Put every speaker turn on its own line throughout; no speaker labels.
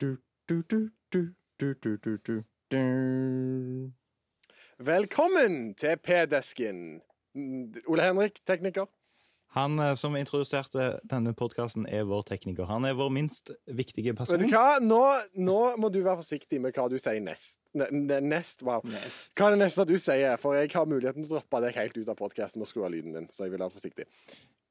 Du, du, du, du, du, du, du, du, du.
Velkommen til P-desken. Mm, Ole Henrik, tekniker.
Han eh, som introduserte denne podkasten, er vår tekniker. Han er vår minst viktige
Vet
person.
du hva? Nå, nå må du være forsiktig med hva du sier nest. Ne- ne- Nest, wow.
Nest.
Hva er det neste du sier? For jeg har muligheten til å droppe deg helt ut av podkasten og skru av lyden din. Så jeg vil være forsiktig.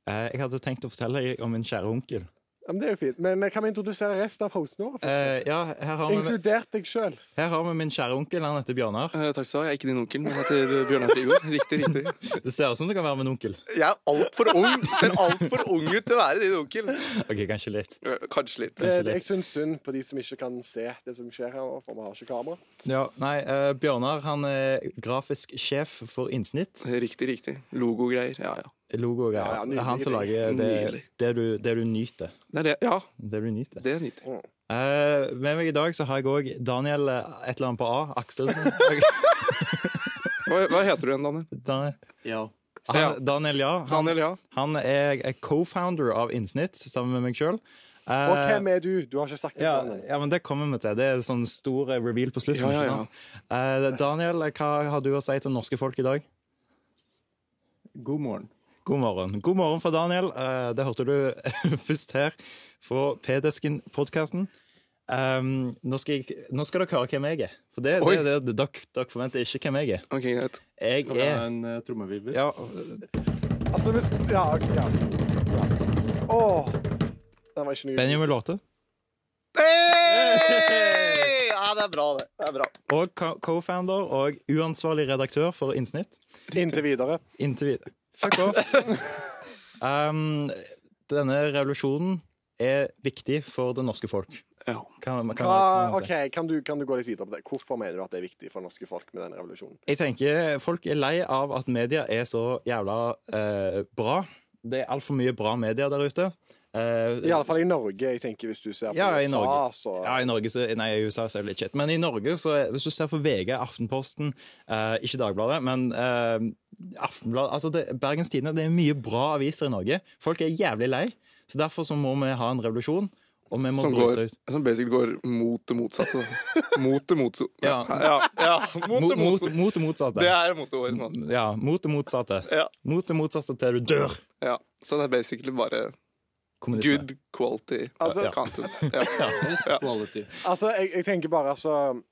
Eh, Jeg hadde tenkt å fortelle deg om min kjære onkel.
Ja, men det er jo fint. Men eh, kan vi introdusere resten av hostene våre?
Eh, ja, her har, vi,
Inkludert deg sjøl.
her har vi min kjære onkel. Han heter Bjørnar.
Eh, takk skal du ha. Jeg er ikke din onkel, men jeg heter eh, Bjørnar Frigård. Riktig, riktig.
Det ser ut som det kan være min onkel.
Jeg er altfor ung. Ser altfor ung ut til å være din onkel.
Ok, kanskje litt.
Eh, Kanskje litt.
Kanskje litt.
Jeg syns synd på de som ikke kan se det som skjer her nå, for vi har ikke kamera.
Ja, nei, eh, Bjørnar han er grafisk sjef for Innsnitt.
Riktig, riktig. Logogreier. Ja, ja.
Logo og
Ja, ja, nydelig.
greier. Det er han som lager det,
Nydelig.
det, du, det du nyter.
Det er det. Ja,
Det du nyter.
det er nyttig.
Eh, med meg i dag så har jeg òg Daniel eh, et eller annet på A. Aksel.
Hva, hva heter du igjen, Daniel?
Daniel.
Ja.
Ja.
Han, Daniel, ja. Han,
Daniel, ja.
Han er co-founder av Innsnitt sammen med meg sjøl.
Og hvem er du? Du har ikke sagt det.
Eh, ja,
til noen.
ja, men det kommer vi til. Det er sånn stor reveal på slutten.
Ja, ja,
ikke
ja.
sant? Eh, Daniel, hva har du å si til norske folk i dag?
God morgen.
God morgen. God morgen fra Daniel. Eh, det hørte du først her fra P-desken-podkasten. Ehm, nå, skal jeg- nå skal dere høre hvem jeg er. For det,
Oi.
det, det, det, dere, dere forventer ikke hvem jeg er.
Ok, greit.
Jeg
Skal vi ha
er
en eh, trommevirvel?
ja,
Altså, vi skal Ja. ok, ja. ja. Åh. Den var ikke noe
Benjamin Låte.
Hey! Ja, det er bra, det. Det er bra.
Og co- co-founder og uansvarlig redaktør for Innsnitt.
Inntil videre.
Inntil videre. Fuck off. um, denne revolusjonen er viktig for det norske folk.
Ja.
Kan, kan,
Hva,
kan man si.
ok, kan du, kan du gå litt videre på det? Hvorfor mener du at det er viktig for norske folk med den revolusjonen?
Jeg tenker folk er lei av at media er så jævla eh, bra. Det er altfor mye bra media der ute. Eh,
I alle fall i Norge, jeg tenker hvis du ser på
Ja, i
USA,
Norge.
så
Ja, i Norge så, nei, i USA så er det litt shit. Men i Norge, så, er- hvis du ser på VG, Aftenposten, eh, ikke Dagbladet, men eh, Aftenbladet, altså det, Bergens Tidende, det er mye bra aviser i Norge. Folk er jævlig lei, så derfor så må vi ha en revolusjon, og vi må
Som,
bryte
går,
ut.
som basically går mot det motsatte. da. Mot det motsatte.
Ja.
ja, ja.
Mot,
Mot det
mot,
motsatte.
mot det
Det
motsatte.
er motorvåret nå.
Ja, mot det motsatte.
Ja.
Mot det motsatte til du dør.
Ja. Så det er basically bare
Kommunisme.
good quality
Altså-
eh, content. Ja.
Best quality.
Altså, jeg, jeg tenker bare, altså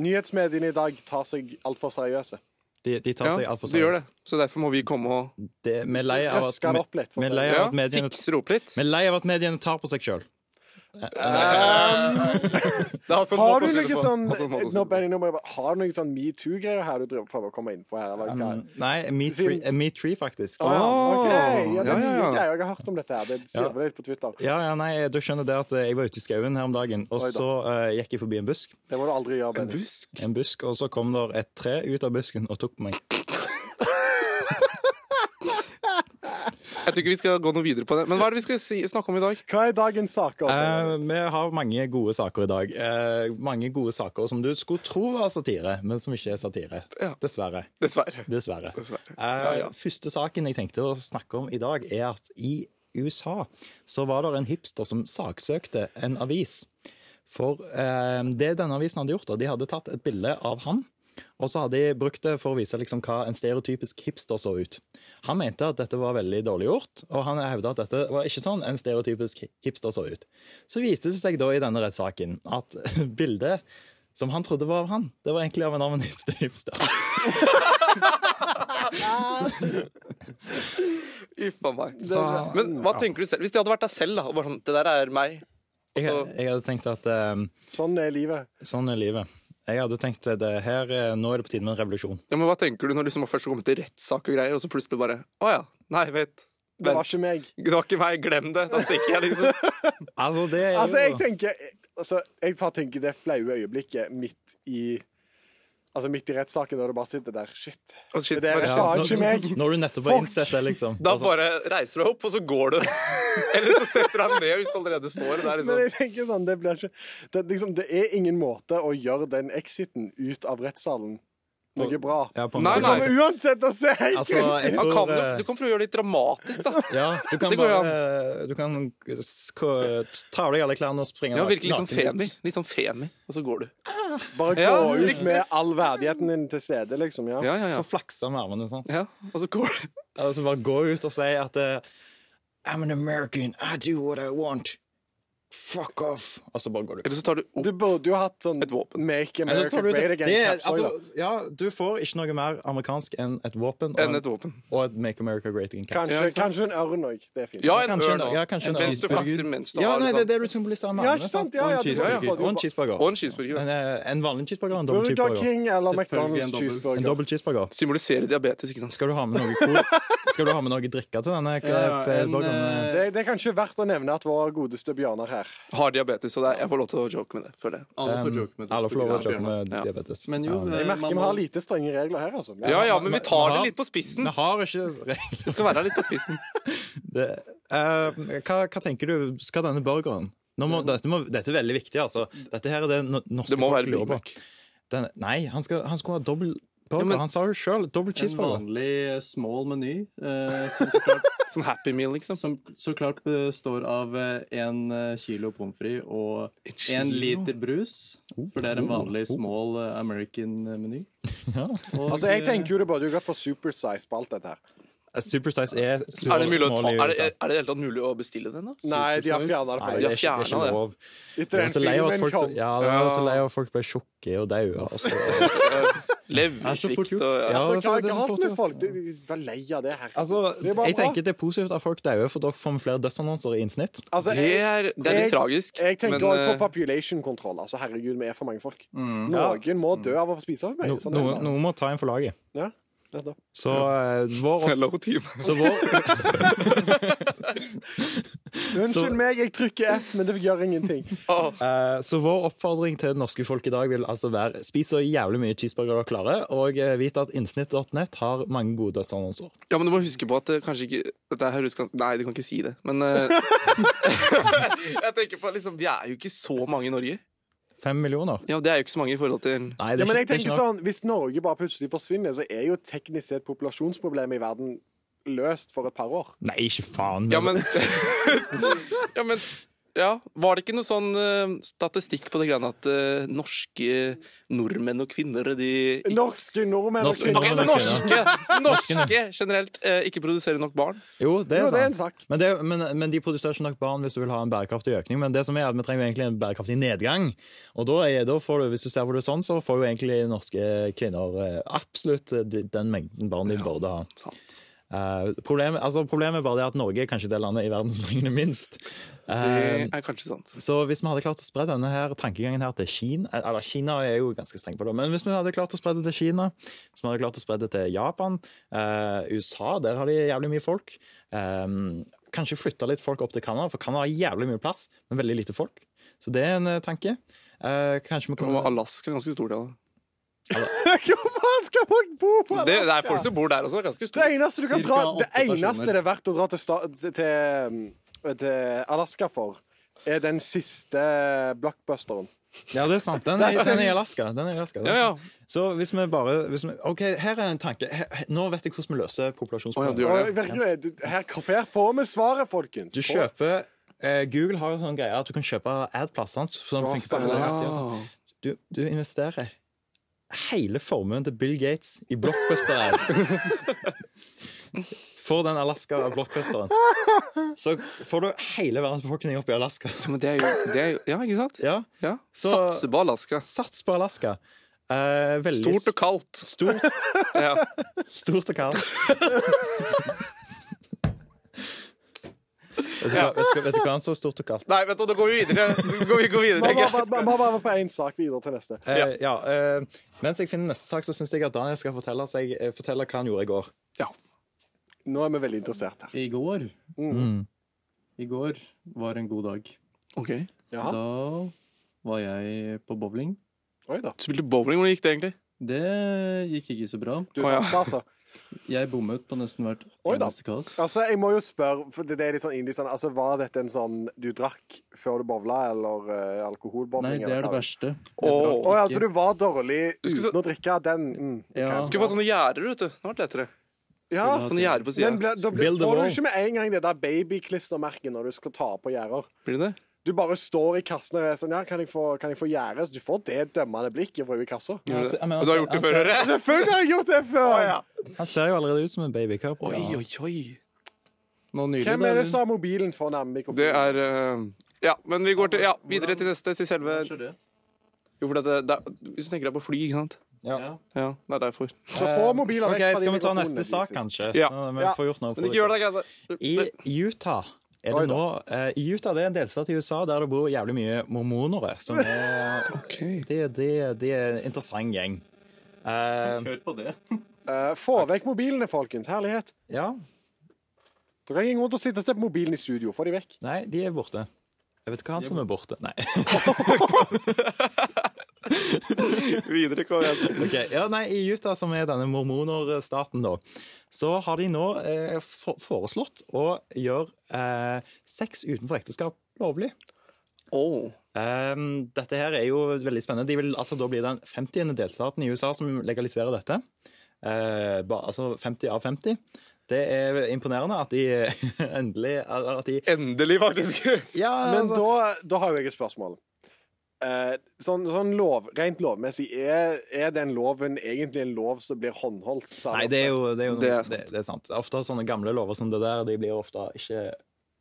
Nyhetsmediene i dag tar seg altfor seriøse.
De, de tar
Ja,
seg altfor
de gjør det. Så derfor må vi komme og
Det- Vi er lei av at,
Røsker det opp litt.
vi
For
er
å si
lei
det.
av
ja,
at mediene
fikse det opp litt.
vi er lei av at mediene tar på seg sjøl.
Det er altså en
Um, har
måte
du
å si det
noe
på.
sånn
Altså en måte å si
Nå,
det på.
Benny, nå må jeg bare, Har du noe sånn metoo-greier her du driver prøver å komme inn på her? Eller hva?
Mm. Nei, Me Tree, eh, Me Tree faktisk.
Å, ja, ok. ja, det
Ja,
er
ja,
mye
ja.
greier. Jeg har hørt om dette her. Det svirrer litt på Twitter.
Ja, ja, nei, du skjønner det at eh, jeg var ute i skauen her om dagen, og
Oi da.
så eh, gikk jeg forbi en busk,
Det må du aldri gjøre,
En
Benny.
busk?
en busk, og så kom der et tre ut av busken og tok på meg.
Jeg tror ikke vi skal gå noe videre på det. Men hva er det vi skal si, snakke om i dag?
Hva er dagens saker?
Eh, vi har mange gode saker i dag. Eh, mange gode saker som du skulle tro var satire, men som ikke er satire.
Ja.
Dessverre.
Dessverre.
Dessverre.
Dessverre.
Eh,
Ja, ja.
Første saken jeg tenkte å snakke om i dag, er at i USA så var det en hipster som saksøkte en avis. For eh, det denne avisen hadde gjort, da, de hadde tatt et bilde av han. Og så hadde de brukt det for å vise liksom hva en stereotypisk hipster så ut. Han mente at dette var veldig dårlig gjort, og han hevda at dette var ikke sånn en stereotypisk hipster så ut. Så viste det seg da i denne rettssaken at bildet som han trodde var av han, det var egentlig av en annen hipster.
Uff a meg.
Så-
Men hva tenker du selv? Hvis de hadde vært deg selv, da, og bare sånn Det der er meg. Og
Jeg,
så
jeg hadde tenkt at eh,
Sånn er livet.
sånn er livet. Jeg hadde tenkt at det her, eh, nå er det på tide med en revolusjon.
ja, men hva tenker du når du liksom først kommer til rettssak og greier, og så plutselig bare Å ja. Nei, vent.
Det var
Vent.
ikke meg.
Det var ikke meg. Glem det. Da stikker jeg, liksom.
Altså, det er jo
Altså, jeg tenker altså, Jeg bare tenker det flaue øyeblikket midt i Altså midt i rettssaken, når du bare sitter der. Shit.
Og shit,
Det der er
bare,
ikke
Ja,
Sa ikke meg.
når, når du nettopp har
Fuck.
innsett det, liksom.
Da
Altså,
bare reiser du deg opp, og så går du. Eller så setter du deg ned hvis du allerede står der.
Men jeg
Liksom.
tenker sånn, det blir ikke det, er liksom, det er ingen måte å gjøre den exiten ut av rettssalen noe bra.
Ja, på en
Nei,
Du
måte.
nei.
kommer uansett til å se helt
Altså, jeg
Han
tror
kan, jo-
eh,
du kan prøve å gjøre det litt dramatisk, da.
Ja, du kan
Det går jo
bare eh, Du kan s- ko- ta av deg alle klærne og springe
Ja,
naken-
Virke litt sånn
naken ut.
femi. Litt sånn femi, og så går du.
Bare gå
Ja,
ut
riktig.
med all verdigheten din til stede, liksom. Ja.
Ja, ja, ja.
Så flakse med armene sånn.
ja og så går du.
Og så bare gå ut og si at eh, I'm an American, I do what I want. Fuck off. Og så bare går du.
Eller så tar du opp
Du burde jo hatt sånn
Et våpen.
Make
Eller så
America
tar du
Great
et,
Again.
det er,
caps også,
altså, ja, du får ikke noe mer amerikansk enn et våpen og,
enn et
en,
våpen.
og et Make America Great Again
da.
cap.
kanskje,
Ja, ikke sant?
kanskje en ørn òg. Det er fint.
Ja, en
Kanskje en-
ørn. også.
ja, kanskje en
mens du
ørn.
flakser mens du
Ja,
har
nei,
en
det,
sånn.
det er du symboliserer med
Ja,
armene.
ikke sant?
sant?
Ja, ja,
Og en
du kan få det.
cheeseburger.
Og en cheeseburger.
Og en cheeseburger.
En, eh, en vanlig cheeseburger og en dobbel
Burger
cheeseburger.
King eller
Selvfølgelig en
McDonald's
dobbel.
En
cheeseburger.
dobbel cheeseburger.
Symbolisere diabetes, ikke sant.
Skal du ha med noe cool? Skal du ha med noe drikke til denne?
Ja, en,
burgeren?
eh,
Det, det er kanskje verdt å nevne at vår godeste Bjørnar her
Har diabetes, og det er, jeg får lov til å joke med det, føler jeg.
Alle får
Um,
joke med det.
Alle får lov å
Ja,
joke med
Ja.
diabetes.
Men jo,
Ja.
eh,
Jeg merker
man
vi
må-
har lite strenge regler her, altså.
Ja ja, men vi tar det
men-
litt på spissen.
Vi har ikke regler.
Det skal være litt på spissen.
Det- eh, hva, hva tenker du, skal denne burgeren Nå må, dette, må, dette er veldig viktig, altså. Dette her er det no- norske
Det må være Big
på.
Mac.
Den, nei, han, skal, han skulle ha dobbel burger.
Ja, men-
han sa jo sjøl dobbel
En
cheeseburger.
vanlig eh, small meny, eh, som, så klart,
Sånn Happy Meal, liksom.
som så klart består av eh, en eh, kilo pommes frites og
kilo?
en liter brus. For det er en
Oh,
vanlig small eh, American-meny.
Altså, Jeg tenker jo det burde jo gått for supersize på alt dette her.
Supersize er
Er det, mulig å ta,
liksom.
er det, er det i det hele tatt mulig å bestille den, da?
Nei, de har
Supersize?
fjerna det.
Nei,
for
det
deg.
er ikke, det er
fjernet
ikke
det.
lov.
Etter
Jeg var
den
så lei av at
filmen
folk, så-
kom.
ja, jeg var så lei av at folk ble tjukke og Altså, daua. og så-
Leversvikt og ja.
Ja,
Altså, hva er
det så- det så
galt
fort
med
ut.
folk? Du- De blir lei av det her.
Altså,
Det er bare
jeg
bra.
tenker det er positivt at folk dauer, for dere får flere dødsannonser i innsnitt.
Altså,
Det er, det er litt
jeg-
tragisk,
Jeg tenker
men
også på
eh,
population control. Altså, herregud, vi er for mange folk. Noen må dø av å få spise for mye.
Mm. No,
Sånn er det
noen,
bare.
noen må ta en for laget.
Ja, nettopp.
Så eh, vår, off-
Hello, team.
så vår
Unnskyld meg, jeg trykker F, men det gjør ingenting.
Eh, Så vår oppfordring til det norske folk i dag vil altså være spis så jævlig mye cheeseburger dere klarer, og eh, vit at innsnitt.net har mange gode dødsannonser.
Ja, men du må huske på at det kanskje ikke Dette her høres ganske Nei, du kan ikke si det, men eh, Jeg tenker på liksom Vi er jo ikke så mange i Norge.
Fem millioner?
Ja, Det er jo ikke så mange i forhold til
Nei, det
Ja,
er
men
ikke,
jeg
det
tenker
er ikke nok.
sånn, Hvis Norge bare plutselig forsvinner, så er jo teknisk sett populasjonsproblemet i verden løst for et par år.
Nei, ikke faen.
Ja, men Ja, men ja, Var det ikke noe sånn eh, statistikk på det greiene at eh, norske nordmenn og kvinner de ikke-
Norske nordmenn og
Norske
kvinner.
Ok,
nordmenn og
norske, norske generelt eh, ikke produserer nok barn.
Jo, det er
Jo, det er en
sant.
sak.
Men, det, er- men, men de produserer ikke nok barn hvis du vil ha en bærekraftig økning. Men det som er at vi trenger jo egentlig en bærekraftig nedgang. Og da, er, da får du, hvis du ser på det sånn, så får jo egentlig norske kvinner eh, absolutt eh, de- den mengden barn de burde ha.
Sant.
Eh, problemet, altså, problemet er bare det at Norge er kanskje det landet i verden som trenger det minst. Eh,
Det er kanskje sant.
så hvis vi hadde klart å spre denne her tankegangen her til Kina eh, Eller Kina er jo ganske streng på det, men hvis vi hadde klart å spre det til Kina, hvis vi hadde klart å spre det til Japan, eh, USA, der har de jævlig mye folk eh, Kanskje flytte litt folk opp til Canada, for Canada har jævlig mye plass, men veldig lite folk. Så det er en eh, tanke. Eh, kanskje vi
Men
kunne
Alaska er ganske stor del av det.
Hvorfor skal folk bo på
Det det er
Alaska?
folk som bor der også. Ganske
Det
stor.
eneste du kan
Cirka
dra Det
åtte
eneste
personer.
det er verdt å dra til, sta til, eh, til Alaska for, er den siste blockbusteren.
Ja, det er sant. Den er, den er i Alaska. Den er i Alaska.
Ja, ja.
Så hvis vi bare hvis vi, OK, her er en tanke. Her, her- nå vet jeg hvordan vi løser populasjonsproblemet.
Å ja, du gjør det.
Og virkelig, eh, du, her, her får vi svaret, folkens.
Du kjøper eh, Google har jo sånn greie at du kan kjøpe ad-plasser hans. Sånn
Ja,
funker det. Du, du investerer hele formuen til Bill Gates i blockbuster ads. For den Alaska-blockbusteren. Så får du hele verdens befolkning opp i Alaska.
Ja, men det er jo, det er jo Ja, ikke sant?
Ja,
Ja.
Så-
Satse på Alaska.
Sats på Alaska. Eh, veldig
Stort og kaldt.
stort,
Ja.
stort og kaldt. Vet du, hva, vet, du, hva- vet du hva han så stort og kaldt?
Nei, vet du, da går vi videre. Vi går, vi går
Vi
videre.
må bare- vi må bare være på én sak videre til neste.
Eh, ja. eh, mens jeg finner neste sak, så syns jeg at Daniel skal fortelle, seg, eh, fortelle hva han gjorde i går.
Nå er vi veldig interessert her.
I går
Mm.
I går var en god dag.
Ok.
Jaha.
Da var jeg på bowling.
Oi da.
Du spilte bowling. Hvordan gikk det egentlig?
Det gikk ikke så bra.
Du,
Å, ja.
altså,
Jeg bomma ut på nesten hvert
Oi da.
eneste kast.
Altså, jeg må jo spørre, for det det er litt sånn indie, sånn, altså, var dette en sånn du drakk før du bowla, eller uh,
Nei,
alkoholbowling?
det er det verste.
Åh.
Å ja, så du var dårlig
Du skulle
uten å drikke den? Mm.
Ja.
Skulle fått sånne gjerder, vet du. Det hadde vært lettere.
Ja,
Sånne gjerder
men
på siden.
ble, da ble,
Build a
får du
wall.
ikke med en gang det der babyklistremerket når du skal ta på gjerder.
Blir det det?
Du bare står i kassen og er sånn Ja, kan jeg få, kan jeg få gjerde? Så Du får det dømmende blikket fra hun i kassa.
Ja, altså, jeg mener,
Og du har gjort det før,
altså-
hører jeg?
Selvfølgelig har jeg gjort det før!
Han ser jo allerede ut som en baby cup.
Oi, oi, oi.
Nå nylig,
Hvem
da,
er det
eller?
som har mobilen foran mikrofonen?
Det er eh, Ja, men vi går til, ja, videre til neste, til selve
Hva skjer det?
Jo, for det, det, er- Hvis du tenker deg på fly, ikke sant?
Ja.
Ja, det er derfor.
Så få mobiler vekk
Ok,
fra de
Skal vi ta
mikrofonene,
neste sak,
Jesus.
kanskje?
Ja.
Sånn at vi
Ja.
får gjort noe for
Men ikke gjør
det.
det, greit.
I Utah er
Oi
det
da.
nå eh, Utah det er en delstat i USA der det bor jævlig mye mormonere. Som er,
Okay.
de, de, de er en interessant gjeng. Eh,
Hør på det.
Eh, få vekk mobilene, folkens. Herlighet.
ja.
Det er ingen grunn til å sitte og se på mobilen i studio. Få de vekk.
Nei, de er borte. Jeg vet ikke han som er borte. Nei.
Videre, kom igjen.
Ok, ja, nei, I Utah, som er denne mormonerstaten, da, så har de nå eh, for- foreslått å gjøre eh, sex utenfor ekteskap lovlig.
Åh.
Ehm, dette her er jo veldig spennende. De vil, altså, da blir det den 50. delstaten i USA som legaliserer dette. Eh, ba, altså 50 av 50. Det er imponerende at de endelig at de,
Endelig, faktisk.
ja,
Men
altså,
da, da har jo jeg et spørsmål. Eh, sånn sånn lov, rent lovmessig, er, er den loven egentlig en lov som blir håndholdt? sa
Nei,
han?
det er jo, det er jo
Det er sant.
det, det er sant. Ofte sånne gamle lover som det der, de blir ofte ikke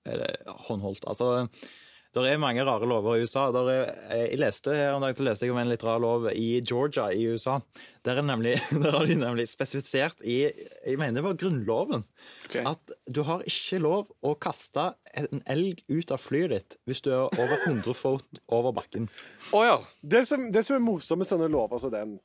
eller, håndholdt. Altså, det er mange rare lover i USA. Der er, eh, jeg leste her om dagen, så leste jeg om en litt rar lov i Georgia i USA. Der, er nemlig, der har de nemlig spesifisert i Jeg mener det var Grunnloven.
Ok.
At du har ikke lov å kaste en elg ut av flyet ditt hvis du er over 100 fot over bakken.
Å ja.
Det som, det som er morsomt med sånne lover som den,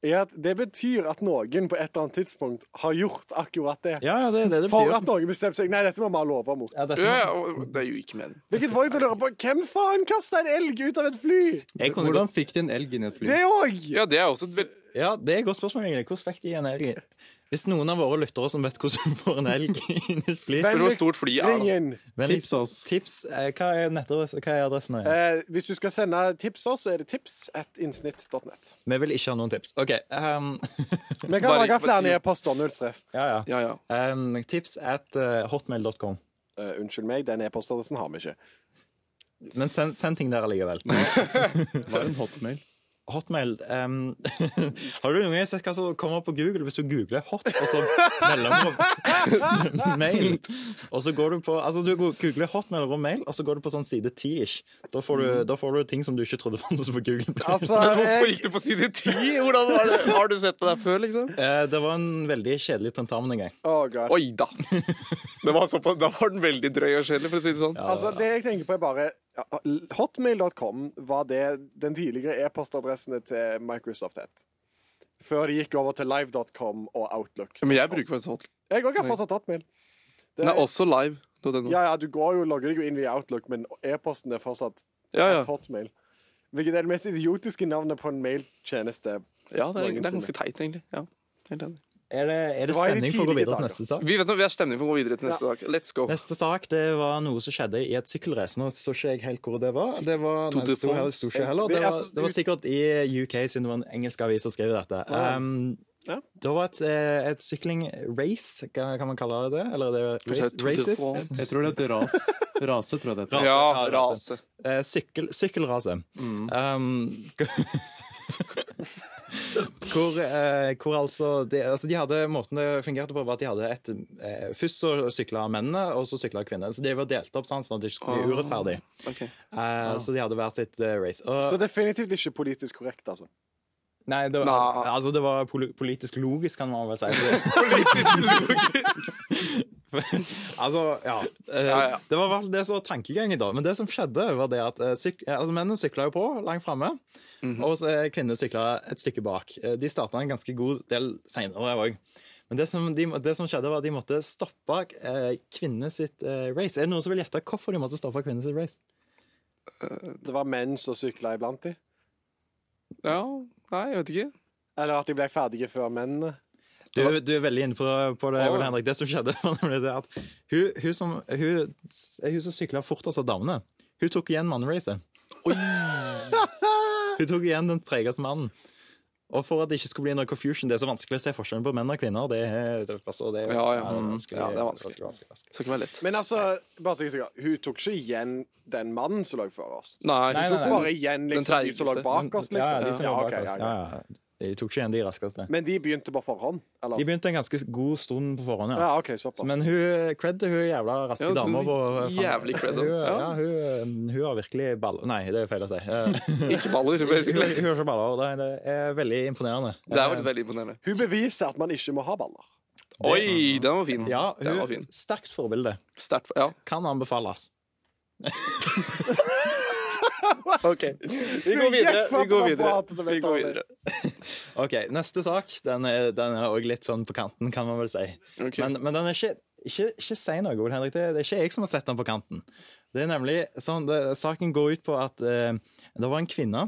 er at det betyr at noen på et eller annet tidspunkt har gjort akkurat det.
Ja, ja, det er det det
For
betyr.
at noen bestemte seg Nei, dette må vi ha lover mot.
Ja, dette-
ja, ja. og- Det er jo ikke meningen.
Hvilket folk til å lure på Hvem faen kasta en elg ut av et fly?
Jeg kunne
Hvordan fikk de en elg inn i et fly?
Det òg!
Ja, det er også et veldig
Ja, det er et godt spørsmål, egentlig. Hvordan fikk de en elg? Hvis noen av våre lyttere som vet hvordan man får en elg inn i et fly
Spør hvor stort flyet er, da.
ring inn.
vennligst
Tips oss.
Tips, eh, hva er, nettadress- hva er adressen? her?
Eh, hvis du skal sende tips oss, så er det tips.innsnitt.net.
Vi vil ikke ha noen tips. OK. Um,
Vi kan
Bare-
lage flere e-poster. Null stress.
ja, ja.
Ja, ja.
Um, tips at eh, hotmail.com.
Eh, unnskyld meg, den e-postadressen har vi ikke.
Men send, send ting der allikevel.
var en hotmail.
Hotmail um, Har du noen gang sett hva som kommer opp på Google hvis du googler hot, og så mellomrom mail? Og så går du på Altså, du googler hot mellomrom mail, og så går du på sånn side 10-ish. Da, får du- da får du ting som du ikke trodde fantes på Google.
Altså,
Men hvorfor
jeg,
gikk du på side 10? Hvordan var det? Har du sett det der før, liksom?
Eh, Det var en veldig kjedelig tentamen en gang.
Å, God.
Oi da. Det var såpass, da var den veldig drøy og kjedelig, for å si det sånn.
altså, det jeg tenker på, er bare ja, Hotmail.com var det den tidligere e-postadressene til Microsoft het. Før de gikk over til live.com og Outlook.
Men jeg bruker faktisk hot.
Jeg òg har fortsatt hotmail. Det-
Den er også live. Du, den.
Ja, ja, du går jo, logger deg jo inn via Outlook, men e-posten er fortsatt
Ja, ja.
hotmail. Hvilket er det mest idiotiske navnet på en mailtjeneste.
ja det, er, det er ganske teit, egentlig. Ja. Helt enig.
Er det, er det
Hva er de
stemning for å gå
tidlige
videre til
dager?
neste sak?
Vi vet nå, vi har stemning for å gå videre til neste dag. Let's go.
Neste sak det var noe som skjedde i et sykkelrace. Nå så ikke jeg helt hvor det var. Det var, nei,
Tour de
det sto her- det sto ikke heller.
Det
Det
er
altså,
var,
så-
det var sikkert i UK, siden det var en engelsk avis som skrev dette. Um,
Ja.
Det var et, eh, et sykling-race, kan kan man kalle det det? Eller er det
Kanskje
race,
Tour de France?
racist?
Jeg tror det er et ras. Rase, tror jeg det heter.
Ja,
Ja, rase.
rase.
Eh, sykkel, sykkelrase.
Mm.
Um, hvor, eh, hvor altså, de, altså de hadde, Måten det fungerte på, var at de hadde et eh, Først så sykla mennene, og så sykla kvinnene. Så de var delt opp sånn, sånn at det ikke skulle bli urettferdig.
Ah, Ok.
Eh, Så de hadde hvert sitt eh, race.
Så
Og,
definitivt ikke politisk korrekt, altså.
nei, det var,
Nei.
altså, det var poli politisk logisk, kan man vel si. politisk logisk! altså, ja. Eh,
Ja, ja.
Det var i hvert fall det som var tankegangen, da. Men det som skjedde, var det at eh, syk eh, altså, mennene sykla jo på langt framme,
Mhm.
og så, eh, kvinnene sykla et stykke bak. Eh, De starta en ganske god del seinere òg. Men det som, de, det som skjedde, var at de måtte stoppe eh, kvinnene sitt eh, race. Er det noen som vil gjette hvorfor de måtte stoppe kvinnene sitt race?
Det var menn som sykla iblant de.
Ja, nei, jeg vet ikke.
Eller at de ble ferdige før mennene.
Du, du er veldig inne på, på det, Ole Henrik. Det som skjedde, var nemlig det at hun, hun, som, hun, hun som sykla fortest av damene, hun tok igjen manneracet. hun tok igjen den tregeste mannen. Og for at det ikke skulle bli noe confusion, det er så vanskelig å se forskjellen på menn og kvinner. Det, er- det, er- altså, det, er-
Ja, ja.
vanskelig,
Ja, det er vanskelig.
vanskelig, vanskelig.
Skal ikke være lett.
Men altså, bare så jeg er sikker, hun tok ikke igjen den mannen som lå før oss.
Nei.
Nei,
Hun tok bare igjen
Den
liksom, de som lå
treigeste.
bak oss, liksom.
Ja, ja, de som var
ok,
bak oss.
ja,
Ja,
ok.
ja. De tok ikke igjen de raskeste.
Men de begynte på forhånd? Eller?
De begynte en ganske god stund på forhånd, ja.
Ja, OK, såpass.
Men hun, cred til hun jævla raske
Ja, hun
dama.
tok
på-
jævlig cred,
hun,
ja.
ja, hun, hun har virkelig baller Nei, det er feil å si. Eh,
Ikke baller,
hun,
basically.
hun har ikke baller. og Det, det er veldig imponerende.
Det er faktisk veldig imponerende.
Hun beviser at man ikke må ha baller.
Oi, den var fin.
Ja,
Den var
hun,
fin.
sterkt forbilde.
Sterkt. Ja,
Kan anbefales.
OK. Vi går videre. Vi går videre. Vi går videre.
OK, neste sak. Den er, den er også litt sånn på kanten, kan man vel si.
Ok.
Men, men den er ikke ikke, ikke si noe, Ole Henrik. Det, det er ikke jeg som har sett den på kanten. Det er nemlig sånn, det, Saken går ut på at eh, det var en kvinne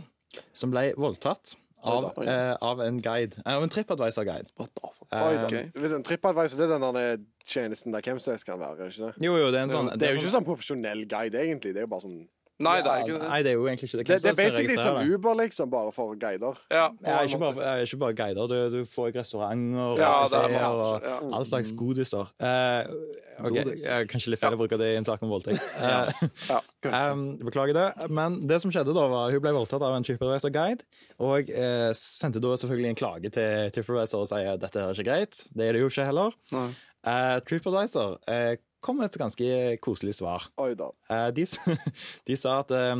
som ble voldtatt av,
Oi da.
eh, av en guide. Eh, Av en TripAdvisor-guide.
What the fuck?
Eh,
Oi, da.
Ok.
Hvis en TripAdvisor det er den der eh, tjenesten der hvem som helst kan være? er det ikke det?
Jo, jo, det er en sånn
det er jo ikke
sånn-
sånn profesjonell guide, egentlig. Det er jo bare sånn
Nei, det er ikke det.
Nei, det er jo egentlig ikke det.
Det, det er
Hvem som helst kan
basically
registrere
som
det.
Uber, liksom, bare for guider.
Ja,
Ja, ikke bare, ja, ikke bare guider. Du, du får restauranter og
Ja, det er
kaféer
masse
og
forskjell,
all slags godiser. Eh, ok, jeg er Kanskje litt feil å bruke det i en sak om voldtekt. Eh,
Ja,
em, beklager det. Men det som skjedde da, var hun ble voldtatt av en TripAdvisor-guide. Og eh, sendte da selvfølgelig en klage til TripAdvisor og sier at dette er ikke greit. Det er det jo ikke heller.
Nei.
Eh, TripAdvisor eh, kom med et ganske koselig svar.
Oi da.
Eh, de, s- de sa at eh,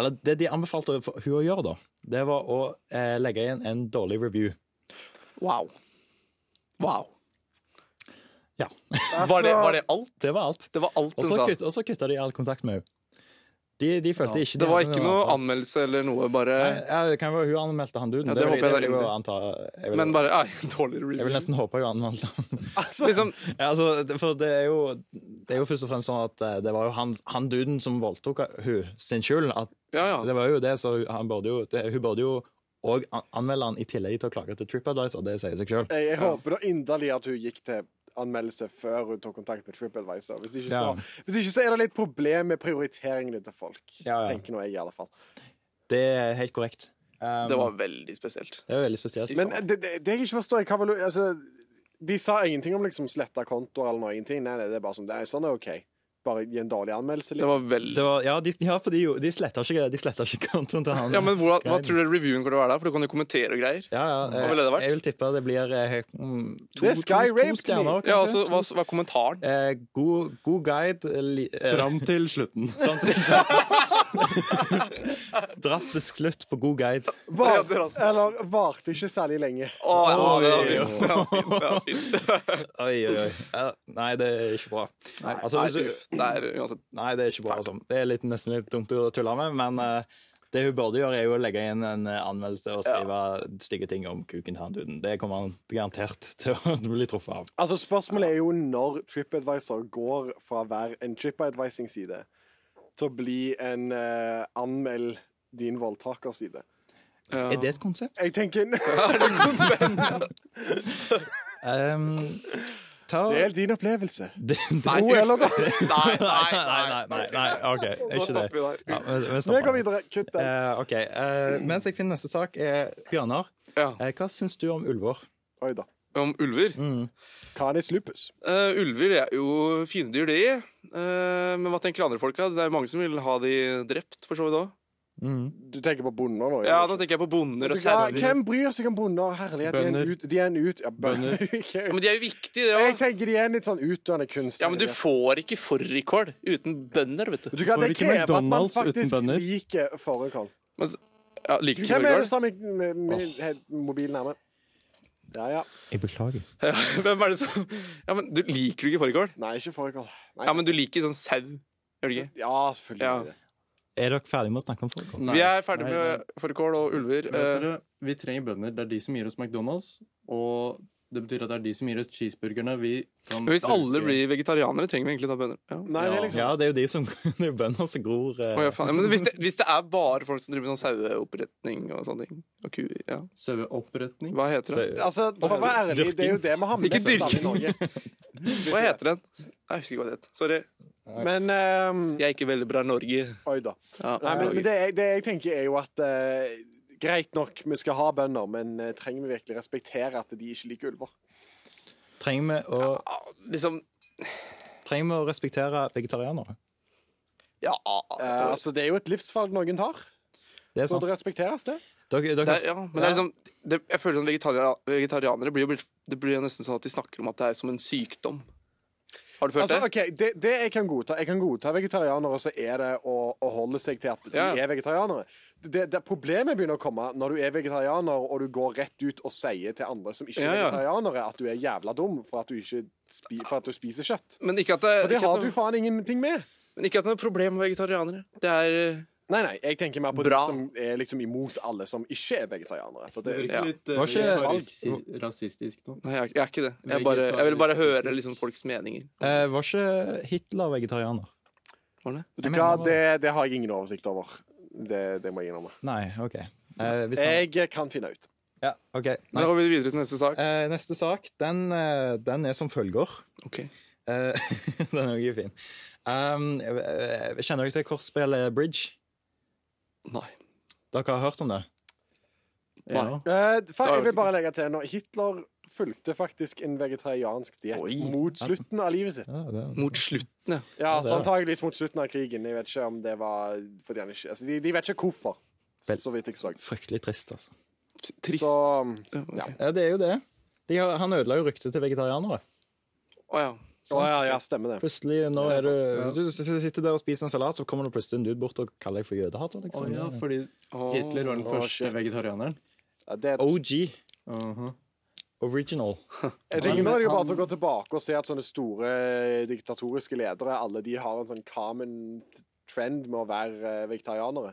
Eller det de anbefalte for hun å gjøre, da, det var å eh, legge igjen en dårlig review.
Wow. Wow.
Ja,
Var det, var det alt?
det var alt.
Det var alt
Og
den
så
sa.
kutt, og så kutta de all kontakt med henne. De, de følte ikke de
Det var
hadde
ikke noe
ansvar.
anmeldelse eller noe, bare
Ja, det kan være hun anmeldte han duden.
Ja,
det,
det
vil-
håper
det
jeg da
vil jeg
inderlig.
jo anta. Jeg vil,
Men bare Nei, dårlig
jeg vil
review.
nesten håpe hun anmeldte han.
Liksom,
ja, altså, det- for det er, jo, det er jo først og fremst sånn at eh, det var jo han, han duden som voldtok hun sin skyld. At
ja, ja.
Det var jo det, så han burde jo, det, hun burde jo og an- anmelde han i tillegg til å klage til TripAdvisor. Det sier seg sjøl.
Jeg, jeg håper da inderlig at hun gikk til anmeldelse før hun tok kontakt med TripAdvisor. Hvis ikke,
Ja.
så, hvis ikke så er det litt problem med prioriteringene til folk.
Ja, ja.
Tenker nå jeg, i alle fall.
Det er helt korrekt. Um,
Det var veldig spesielt.
det er veldig spesielt.
Men det, det, det jeg ikke forstår, jeg kan vel altså, De sa ingenting om liksom sletta kontoer eller noe. Ingenting. Nei, nei, det er bare sånn. Det er sånn er OK. Bare gi en dårlig anmeldelse,
Det
liksom.
var veldig
det var, ja, de, ja, for de, gjorde- de sletta ikke, de sletta ikke kontoen til han.
Ja, men hvordan, Hva tror du reviewen kommer til å være der? For du kan jo kommentere og greier.
Ja, ja, eh,
Hva ville det vært?
Jeg vil tippe det blir eh, høy- mm, to,
This guy
to, to
raped
stjerner,
me.
kanskje.
Ja, altså, hva, hva er kommentaren?
eh, god, god guide eh, li, eh,
Fram til slutten.
fram til Drastisk slutt på god guide.
Var,
Ja, det var sånn.
liksom. eller varte ikke særlig lenge.
Å, ja, det var fint. Det var fint, det var fint.
Oi, oi, oi. Eh, nei, det er ikke bra. Nei, altså,
Nei,
hvis du,
uff, det er uansett
Nei, det er ikke bra. Altså. Det er litt, nesten litt dumt å tulle med, men eh, det hun burde gjøre, er jo å legge inn en eh, anmeldelse og skrive stygge ting om kuken til han duden. Det kommer han garantert til å bli truffet av.
Altså Spørsmålet er jo når TripAdvisor går fra å være en TripAdvising-side til å bli en eh, anmeld din voldtaker-side.
ja.
Er det et konsept?
Jeg tenker Det
Um, ta
er helt din opplevelse.
det, det,
Nei,
Tro
uff.
eller da.
Nei,
nei,
nei,
nei, nei, nei, nei, OK.
Nå
Ikke
stopper
det.
vi der.
Ja, vi, vi
Vi går
stopper.
videre. Kutt den.
Eh, OK. eh, mens jeg finner neste sak, er Bjørnar.
Ja.
eh, hva syns du om ulver? Mm,
Oi da.
Om ulver?
Canis lupus.
Eh, ulver er jo fine dyr, de. Eh, men hva tenker andre folk? da? Det er jo mange som vil ha de drept, for så vidt òg.
mm.
Du tenker på bonder nå?
Ja, da tenker jeg på bonder og
Vet du hva?
sauer. Ja,
Hvem bryr seg om bonder? Herlighet, de er en
Bønder.
ut... De er en ut ja, bønder.
men de er jo viktige, det
Jeg
òg.
tenker de er en litt sånn utdøende kunstner.
Ja, men du får ikke fårikål uten bønder, vet
Vet
du.
du hva,
Får
det
ikke
krever at man
McDonald's uten
faktisk
bønder?
liker fårikål.
Men s- Ja, liker du ikke
Hvem er det
fårikål?
som har med, med, med mobil nærme? Ja, ja.
Jeg beklager.
Ja, hvem er det som Ja, men du liker du ikke fårikål?
Nei, ikke fårikål. Nei.
Ja, men du liker sånn sau. Gjør du ikke?
Ja, selvfølgelig.
Ja.
gjør jeg det.
Er dere ferdige med å snakke om folk?
Nei.
Vi er ferdig
Nei,
med fårikål og ulver.
Vet
Eh,
dere, vi trenger bønder. Det er de som gir oss McDonald's. Og Det betyr at det er de som gir oss cheeseburgerne. Vi kan
Men hvis alle
bruke-
blir vegetarianere, trenger vi egentlig da bønner. Ja.
Nei, det er liksom
Ja, det er jo de som Det er jo bønder som gror eh,
Å, ja, faen. Men hvis det, hvis det er bare folk som driver med sånn saueoppretning og sånne ting og ku, ja.
Saueoppretning.
Hva heter det?
så-
Altså, for å være ærlig, det er jo det vi har
Ikke
mest av i
dyrking.
Norge.
Hva heter den? Jeg husker ikke hva det het. Sorry.
Men ehm,
Jeg er ikke veldig bra i Norge.
Oi da.
Ja,
Nei, men, men
Norge.
det, jeg, det jeg tenker, er jo at eh, Greit nok, vi skal ha bønder, men eh, trenger vi virkelig respektere at de ikke liker ulver?
Trenger vi å
Ah, liksom
Trenger vi å respektere vegetarianere?
Ja.
Eh, altså, Det er jo et livsvalg noen tar.
Det er
Så
sant.
det respekteres, det.
Dere, dere,
Det er, ja, men det er liksom det, Jeg føler sånn vegetaria- vegetarianere blir jo blitt, Det blir jo nesten sånn at de snakker om at det er som en sykdom. Har du følt
Altså,
det?
ok, det, det jeg kan godta Jeg kan godta vegetarianere, så er det å, å holde seg til at de
Ja.
er vegetarianere. Det, det Problemet begynner å komme når du er vegetarianer og du går rett ut og sier til andre som ikke
Ja,
er
ja.
vegetarianere, at du er jævla dum for at du, ikke spi, for at du spiser kjøtt.
Men ikke at det,
Og det
ikke at
har
det-
du faen ingenting med.
Men ikke at det er noe problem med vegetarianere. Det er eh,
Nei, nei, jeg tenker mer på
Bra.
de som er liksom imot alle som ikke er vegetarianere. For
Det
det,
virker
Ja.
litt eh,
Var ikke-
rasi- rasistisk nå.
Nei, jeg, er- jeg er ikke det. Jeg, er bare, jeg vil bare høre liksom, folks meninger.
eh, var ikke Hitler vegetarianer?
Var det?
Vet du
Jeg
hva,
mener-
det, det har jeg ingen oversikt over. Det, det må jeg innrømme.
Nei, OK. Eh, hvis han,
Jeg kan finne ut.
ja, ok,
Da går
nice.
vi videre til neste sak.
Eh, neste sak, den, eh, den er som følger.
Ok.
Eh, den er jo fin. Um, eh, kjenner dere til kortspillet Bridge?
Nei.
Dere har hørt om det?
Ja.
Nei.
Eh, fa-
Da
jeg
er vi
vil bare legge til nå. Hitler fulgte faktisk en vegetariansk
Oi.
diett mot slutten av livet sitt.
Ja, det
Mot slutten, ja.
Ja,
Ja, det
så
er det.
antageligvis mot slutten av krigen. Jeg vet ikke om det var fordi han ikke altså, de, de vet ikke hvorfor,
Vel.
så vidt jeg så.
Fryktelig trist, altså.
Trist.
Så um,
Ja, ok.
ja.
Ja, det er jo det. De har, han ødela jo ryktet til vegetarianere.
Å ja.
Å ja, ja, stemmer det.
Plutselig, nå
Ja,
er
det
du,
er
du sitter der og spiser en salat, så kommer det plutselig en dude bort og kaller deg for jødehater.
Å
Liksom.
ja, fordi
Å,
Hitler var den
Å,
første
shit.
vegetarianeren.
Ja, det
OG.
Aha.
Original.
jeg tenker Nå er det jo bare til å gå tilbake og se at sånne store eh, diktatoriske ledere alle de har en sånn common trend med å være eh, vegetarianere.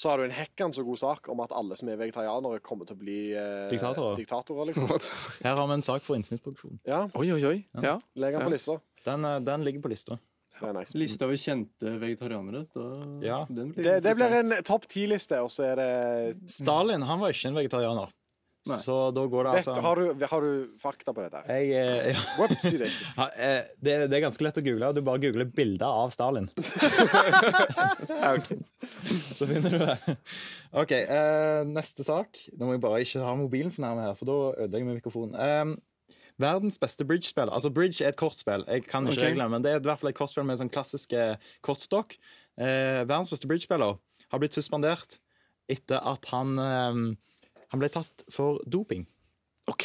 Så har du en hekkende så god sak om at alle som er vegetarianere, kommer til å bli eh,
Diktatorer.
diktatorer liksom.
what?
Her har vi en sak for innsnittsproduksjon.
Ja,
Oi, oi, oi. Ja.
Legg den på
Ja.
lista.
Den, eh, den ligger på lista.
Det er nice.
Lista over kjente vegetarianere. Da,
Ja.
den blir
Det, det blir en
interessant.
topp ti-liste, og så er det
Stalin han var ikke en vegetarianer.
Nei.
Så da går det
Dette,
altså
har, du, har du fakta på dette? her?
jeg, eh, ja,
Whoopsie daisy.
ha, eh, det, det er ganske lett å google. og Du bare googler 'bilder av Stalin'. Så finner du det. OK, eh, neste sak. Nå må jeg bare ikke ha mobilen for nærme her, for da ødelegger vi mikrofonen. Em, Eh, verdens beste bridgespill. Altså, bridge er et kortspill. Jeg kan ikke
Ok.
reglene, men det er i hvert fall et kortspill med sånn klassiske kortstokk. Eh, verdens beste bridgespiller har blitt suspendert etter at han em, han ble tatt for doping.
OK.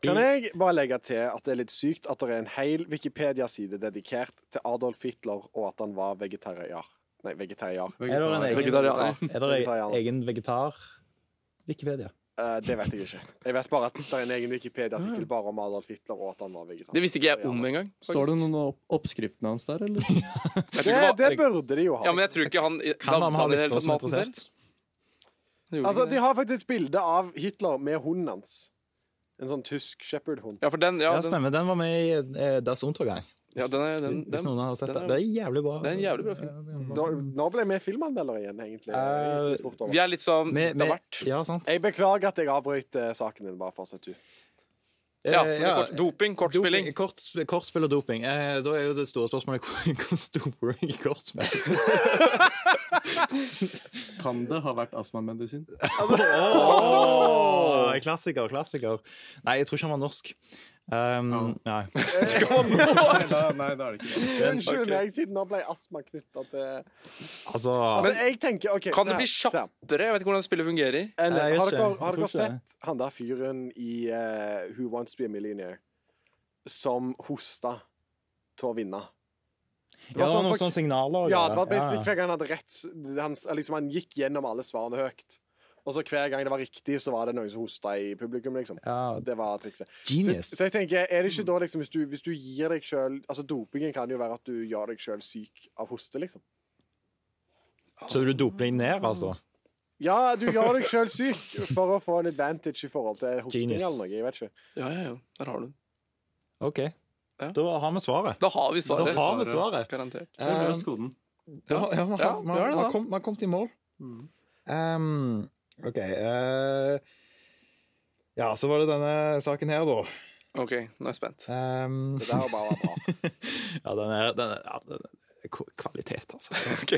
Kan jeg bare legge til at det er litt sykt at det er en hel Wikipedia-side dedikert til Adolf Hitler og at han var vegetariar. Nei, vegetariar.
Er det en egen,
Vegetarianer.
er det en
Vegetarianer.
egen vegetar? Wikipedia.
Eh, det vet jeg ikke. Jeg vet bare at det er en egen Wikipedia-artikkel bare om Adolf Hitler og at han var vegetar.
Det visste ikke jeg om engang.
Står det noen opp oppskriftene hans der, eller?
Jeg tror
det,
ikke det
det
var-
burde de jo ha.
Ja, men jeg tror ikke han
Kan han ha
lagde
lyttere som er
maten selv.
interessert?
Han gjorde
Altså,
ikke
De
det.
har faktisk bilde av Hitler med hunden hans. En sånn tysk shepherd-hund.
Ja, for den Ja,
Ja,
den,
stemmer. Den var med i eh, Das Untergang.
ja, den er den,
hvis
den.
noen har sett
den
det.
er-
Det er jævlig bra.
det er en jævlig bra film.
film.
Nå, nå ble vi filmanmeldere igjen, egentlig.
Eh,
Litt fort over.
Vi er litt sånn
Med,
Det har vært.
ja, sant.
Jeg beklager at jeg avbrøt eh, saken din. Bare fortsett, du.
Ja, men det er
Eh,
kort, doping, kortspilling.
Doping, Kort, kortspill og doping. Eh, da er jo det store spørsmålet hvor hvor stor er jeg i kortspill?
Kan det ha vært astmamedisin?
Oh! Klassiker, klassiker. Nei, jeg tror ikke han var norsk. Um, Nei.
nei, da, nei, da er det ikke det.
Unnskyld meg, siden nå ble astma knytta til
Altså,
Altså, jeg tenker OK.
Kan
se
det
her,
bli
se her.
kjappere? Jeg vet ikke hvordan spillet fungerer.
Eller,
Nei, jeg
har
vet
dere, har
ikke. Jeg
dere
tror ikke
sett han der fyren i eh, Who Wants to be a Millionaire som hosta til å vinne?
ja, det
altså,
var
sånn
noen
folk-
sånne signaler. og
Ja,
greier.
det var
Ja,
basically
ja.
hver gang han hadde rett han, s- liksom, han gikk gjennom alle svarene høyt. Og så hver gang det var riktig, så var det noen som hosta i publikum, liksom.
Ja.
Det var trikset. Så,
Genius.
så jeg tenker, er det ikke da liksom hvis du, hvis du gir deg sjøl Altså, dopingen kan jo være at du gjør deg sjøl syk av hoste, liksom.
Så du doper deg ned, altså?
Ja, du gjør deg sjøl syk for å få en advantage i forhold til hosting
Genius.
eller noe. Jeg vet ikke.
Ja, ja, ja. Der har du den.
OK.
Ja.
Da har vi svaret.
Da har vi
Da
svaret.
har vi svaret.
Garantert.
Det er
Eh,
løst koden.
Da, ja, man,
Ja,
har- man,
vi har
man
det da. Mm.
kom- man har kommet i mål. Ehm, OK. eh, ja, så var det denne saken her, da.
OK, nå er jeg spent.
Ehm,
Det der bare var bra.
ja, den er, den er, ja, den er k- kvalitet, altså.
Ok.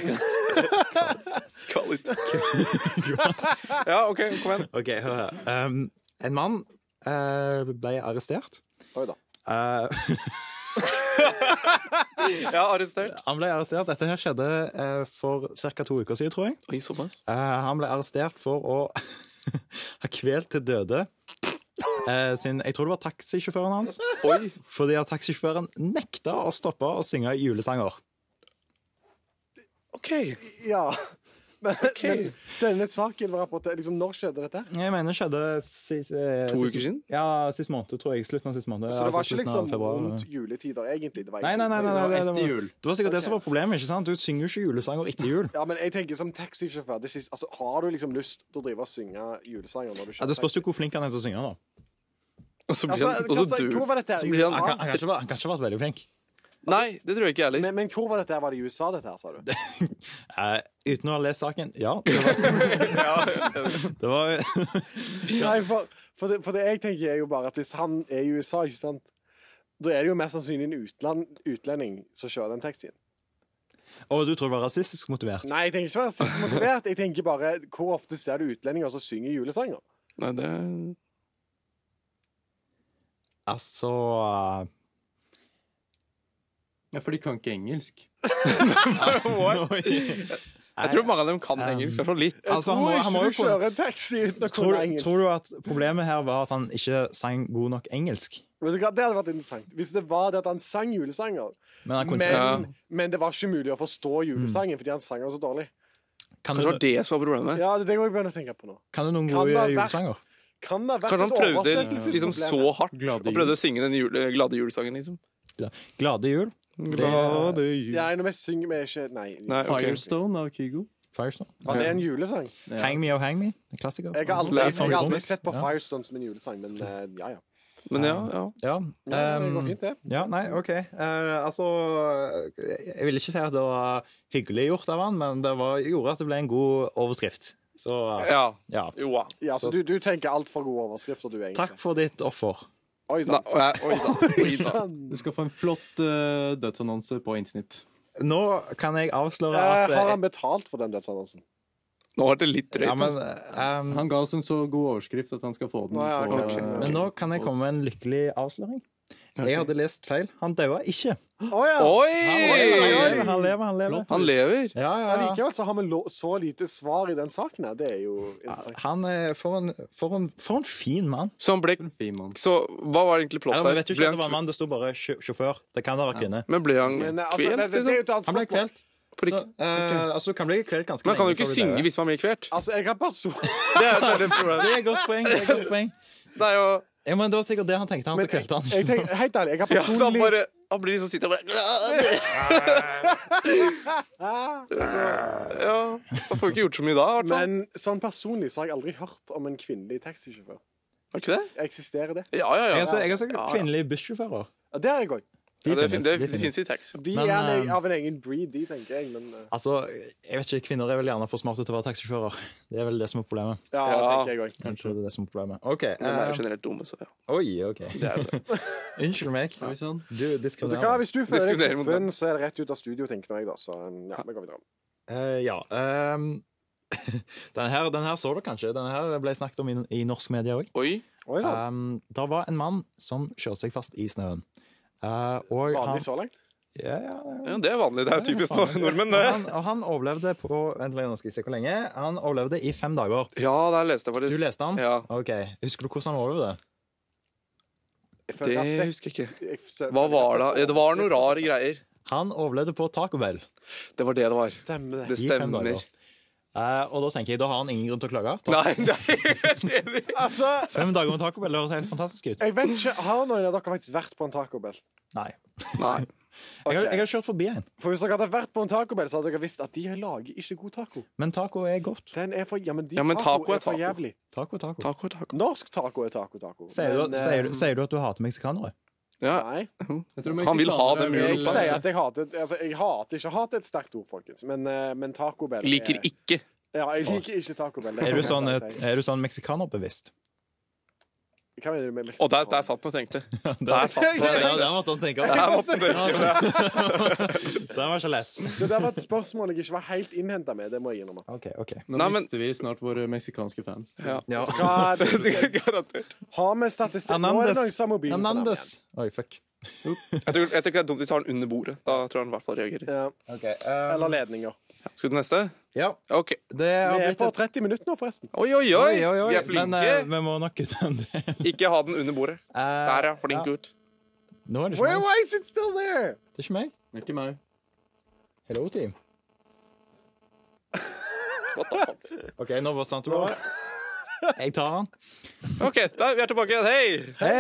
Kvalitet. ja, OK, kom igjen.
OK, hør her. Ehm, en mann eh, ble arrestert.
Oi da.
Eh,
Jeg har arrestert.
han ble arrestert. Dette her skjedde eh, for ca. to uker siden, tror jeg.
Oi, såpass.
Eh, han ble arrestert for å ha kvelt til døde eh, sin Jeg tror det var taxisjåføren hans.
Oi.
Fordi at taxisjåføren nekta å stoppe å synge julesanger.
OK.
Ja. Men,
Ok.
men denne saken var rapportert liksom, Når skjedde dette?
Jeg mener det skjedde sist, eh,
To
sist-
uker siden?
Ja, sist måned, tror jeg. Slutten av sist måned.
Så det
altså
var ikke
slutten av
liksom
februar.
rundt juletider, egentlig? Det var
Nei, nei, nei. nei, nei,
Det var
det,
etter
var,
jul.
det var sikkert det
Ok.
som var problemet. ikke sant? Du synger jo ikke julesanger etter jul.
Ja, men jeg tenker som taxisjåfør det siste, altså, Har du liksom lyst til å drive og synge julesanger når du
Ja, det spørs jo hvor flink han er til å synge. da.
Og så blir
Altså,
han, og så
hva-
dør
hvor var dette her?
så blir han-
USA?
Han kan, han kan, ikke, være- han kan ikke ha vært veldig flink.
Nei, det tror jeg ikke jeg heller.
Men, men hvor var dette? her? Var det i USA, dette her, sa du?
Eh, uten å ha lest saken, ja. Det var, det var
Nei, for, for, det, for det jeg tenker, er jo bare at hvis han er i USA, ikke sant da er det jo mest sannsynlig en utland, utlending som kjører den taxien.
Og du tror det var rasistisk motivert?
Nei, jeg tenker ikke å være rasistisk motivert. Jeg tenker bare, Hvor ofte ser du utlendinger som synger julesanger?
Nei, det er
Altså
Ja, for de kan ikke engelsk.
Jeg tror mange av dem kan engelsk, i hvert fall litt.
Altså, han
Tror
må, han må
ikke du
jo kunne
kjører en taxi uten å
tror,
kunne engelsk.
tror du at problemet her var at han ikke sang god nok engelsk?
Vet du hva, Det hadde vært interessant. Hvis det var det at han sang julesanger,
Men han kunne
men,
ikke
Ja.
men det var ikke mulig å forstå julesangen fordi han sang den så dårlig.
Kan
Kanskje det var
du,
det som var problemet.
Ja, det, det går jeg begynner å tenke på nå.
kan du
Kan
noen
det
gode
ha vært-
julesanger?
Kan det ha vært
Kanskje han
et
prøvde liksom så
oversettelsesproblem?
hardt
Glade
og prøvde å synge den jule, glade julesangen, liksom.
Ja. Glade jul?
Glade jul
Ja, når vi synger vi er ikke Nei.
Nei, ok.
Firestone av Kygo.
Firestone?
Var det en julesang?
Ja.
Hang me oh hang me? En klassiker.
Jeg har aldri,
Det er
jeg har aldri
Thomas.
sett på
Ja.
Firestone som en julesang, men eh, ja, ja.
Men ja, ja.
Ja.
ja det går
ehm,
fint, det.
ja, nei, OK. Eh, altså Jeg vil ikke si at det var hyggelig gjort av han, men det var, gjorde at det ble en god overskrift. Så
ja.
ja.
Jo da.
Ja, så du, du tenker altfor gode overskrifter, du, egentlig.
Takk for ditt offer.
Oi
Nei,
sann.
og jeg- Oi da. Oi da.
Du skal få en flott eh, dødsannonse på innsnitt.
Nå kan jeg avsløre
Eh,
at
har han betalt for den dødsannonsen?
Nå var det litt drøyt.
Ja,
men,
men, ehm,
Han ga oss en så god overskrift at han skal få den.
Nei, ja,
på,
ok.
eh,
Men nå kan jeg komme med en lykkelig avsløring. Jeg hadde lest feil. Han daua ikke.
Å ja!
Han lever,
Oi!
han lever. Han lever.
Han lever.
Ja, ja, ja.
Allikevel så har vi lo- så lite svar i den saken her. Det er jo interessant.
Han er for en, for en, for en fin mann.
Så han ble
en Fin mann.
Så hva var egentlig plottet?
Eller, vi vet jo
Ble
ikke at det var
han,
en mann, det sto bare sjø- sjåfør. Det kan da være kvinne.
men ble han
Men eh, altså,
kvelt,
det, det, det er jo
liksom?
et annet
Han ble
spørsmål.
kvelt.
For
Så,
ikke,
eh, altså, du kan bli kvelt ganske
men han kan jo
lenge
ikke
før du
synge
dør.
hvis man blir kvelt.
Altså, jeg har person...
Det er jo et veldig problem.
Det er et godt poeng. Det er et godt poeng.
Det er jo
Ja, men det var sikkert det han tenkte, han som
Men jeg,
kvelte
jeg
han.
tenker, helt ærlig, jeg har
ja, så Altså, han
personlig
bare Han blir liksom sittende og bare Ja. Han får ikke gjort så mye da, i hvert fall.
altså, Men sånn personlig så har jeg aldri hørt om en kvinnelig taxisjåfør.
Har ikke det?
Eksisterer det?
Ja, ja, ja.
Jeg har så- jeg har sikkert
Ja, ja.
kvinnelige bussjåfører.
Ja, der er jeg òg.
De
Ja, det,
finnes,
fin- det,
de
det
finnes.
fins i taxi.
De
Men,
er en,
eh,
av en egen breed, de, tenker jeg. Men eh,
Altså, jeg vet ikke, Kvinner er vel gjerne for smarte til å være taxisjåfører. Det er vel det som er problemet.
ja, det
Ja.
tenker jeg òg.
Kanskje det er det som er problemet. OK.
Men de er jo
eh,
generelt dumme, så ja.
oi, OK.
Det er det.
Unnskyld meg.
Oi, sann.
Du
Vet du hva,
diskriminerer. meg.
Hvis du føler deg
Diskriminerer mot
truffet, så er det rett ut av studio, tenker nå jeg, da. Så eh, ja, vi går videre.
Eh, ja. ehm, den, her, den her så du kanskje. Den her ble snakket om i, i norsk media òg.
Oi.
Oi da.
Um, det var en mann som kjørte seg fast i snøen. Eh, og han,
Vanlig sånn. så langt?
ja, ja,
Ja, det er vanlig. Det er jo typisk nord- nordmenn,
og
det.
han, og han overlevde på Vent litt, nå skal jeg se hvor lenge. Han overlevde i fem dager.
Ja, der leste jeg
Du
faktisk.
leste han?
Ja,
OK. Husker du hvordan han overlevde?
Jeg føler
Det
jeg har sett-
husker jeg ikke.
jeg føler
Hva
jeg har
var det?
sett
Ja, Det var noen rare greier.
Han overlevde på Taco Bell
Det var det det var.
Stemmer det.
Det
i fem
stemmer.
dager. Eh, og da tenker jeg, da har han ingen grunn til å klage. Ta-
Nei, det er helt enig.
Altså,
Fem dager med Taco Bell det høres helt fantastisk ut.
jeg vet ikke, Har noen av dere faktisk vært på en tacobell?
Nei.
Nei.
Jeg har,
Ok.
jeg har kjørt forbi en,
For hvis dere hadde vært på en tacobell, så hadde dere visst at de lager ikke god taco.
men taco er godt.
Den er for, ja, men de
Ja, men taco er
er for
taco.
jævlig.
Taco, taco.
Taco, taco.
Norsk taco er taco-taco.
Sier du, sier, du- sier du at du hater meksikanere?
Ja,
Nei.
Han vil ha det
Jeg
mulig.
sier at jeg hater altså, Jeg hater ikke hat er et sterkt ord, folkens, men, eh, men tacobell er-
liker ikke.
Ja, jeg liker ikke tacobell.
Er du sånn, et- er du sånn meksikanerbevisst?
Hva mener du med
Og der, der satt han og tenkte. Der satt han og
Ja,
tenkte.
det måtte han tenke
Der
over.
måtte han tenke.
Den var ikke lett.
Det der var et spørsmål jeg ikke var helt innhenta med. Det må jeg innrømme.
Ok, ok.
Nå
Nei, men-
mister vi snart våre meksikanske fans.
Ja.
Hva-
Garantert.
Ha med statistikk. Nå er det noen
Hernandez.
som har mobilen på dem igjen.
Hernandez. Oi, fuck.
Jeg tror, jeg tror ikke det er dumt hvis du har den under bordet. Da tror jeg han i hvert fall reagerer.
Ja, eller ledninger.
Skal du til neste?
Ja,
OK.
det har
Vi er
blitt
på
et
30 minutter nå, forresten.
Oi, oi, oi!
Oi, oi, oi.
Vi er
Men eh,
flinke.
vi må nok ut av det. Eh,
Ikke ha den under bordet. Der, ja. Flink
Ja.
gutt.
Nå er det ikke
Where
meg.
was it still there?
Det er ikke meg.
Det er Ikke meg.
Hello, team.
What the fuck?
OK, nå forsvant du bare. Jeg tar han.
OK, da, vi er tilbake igjen. Hei!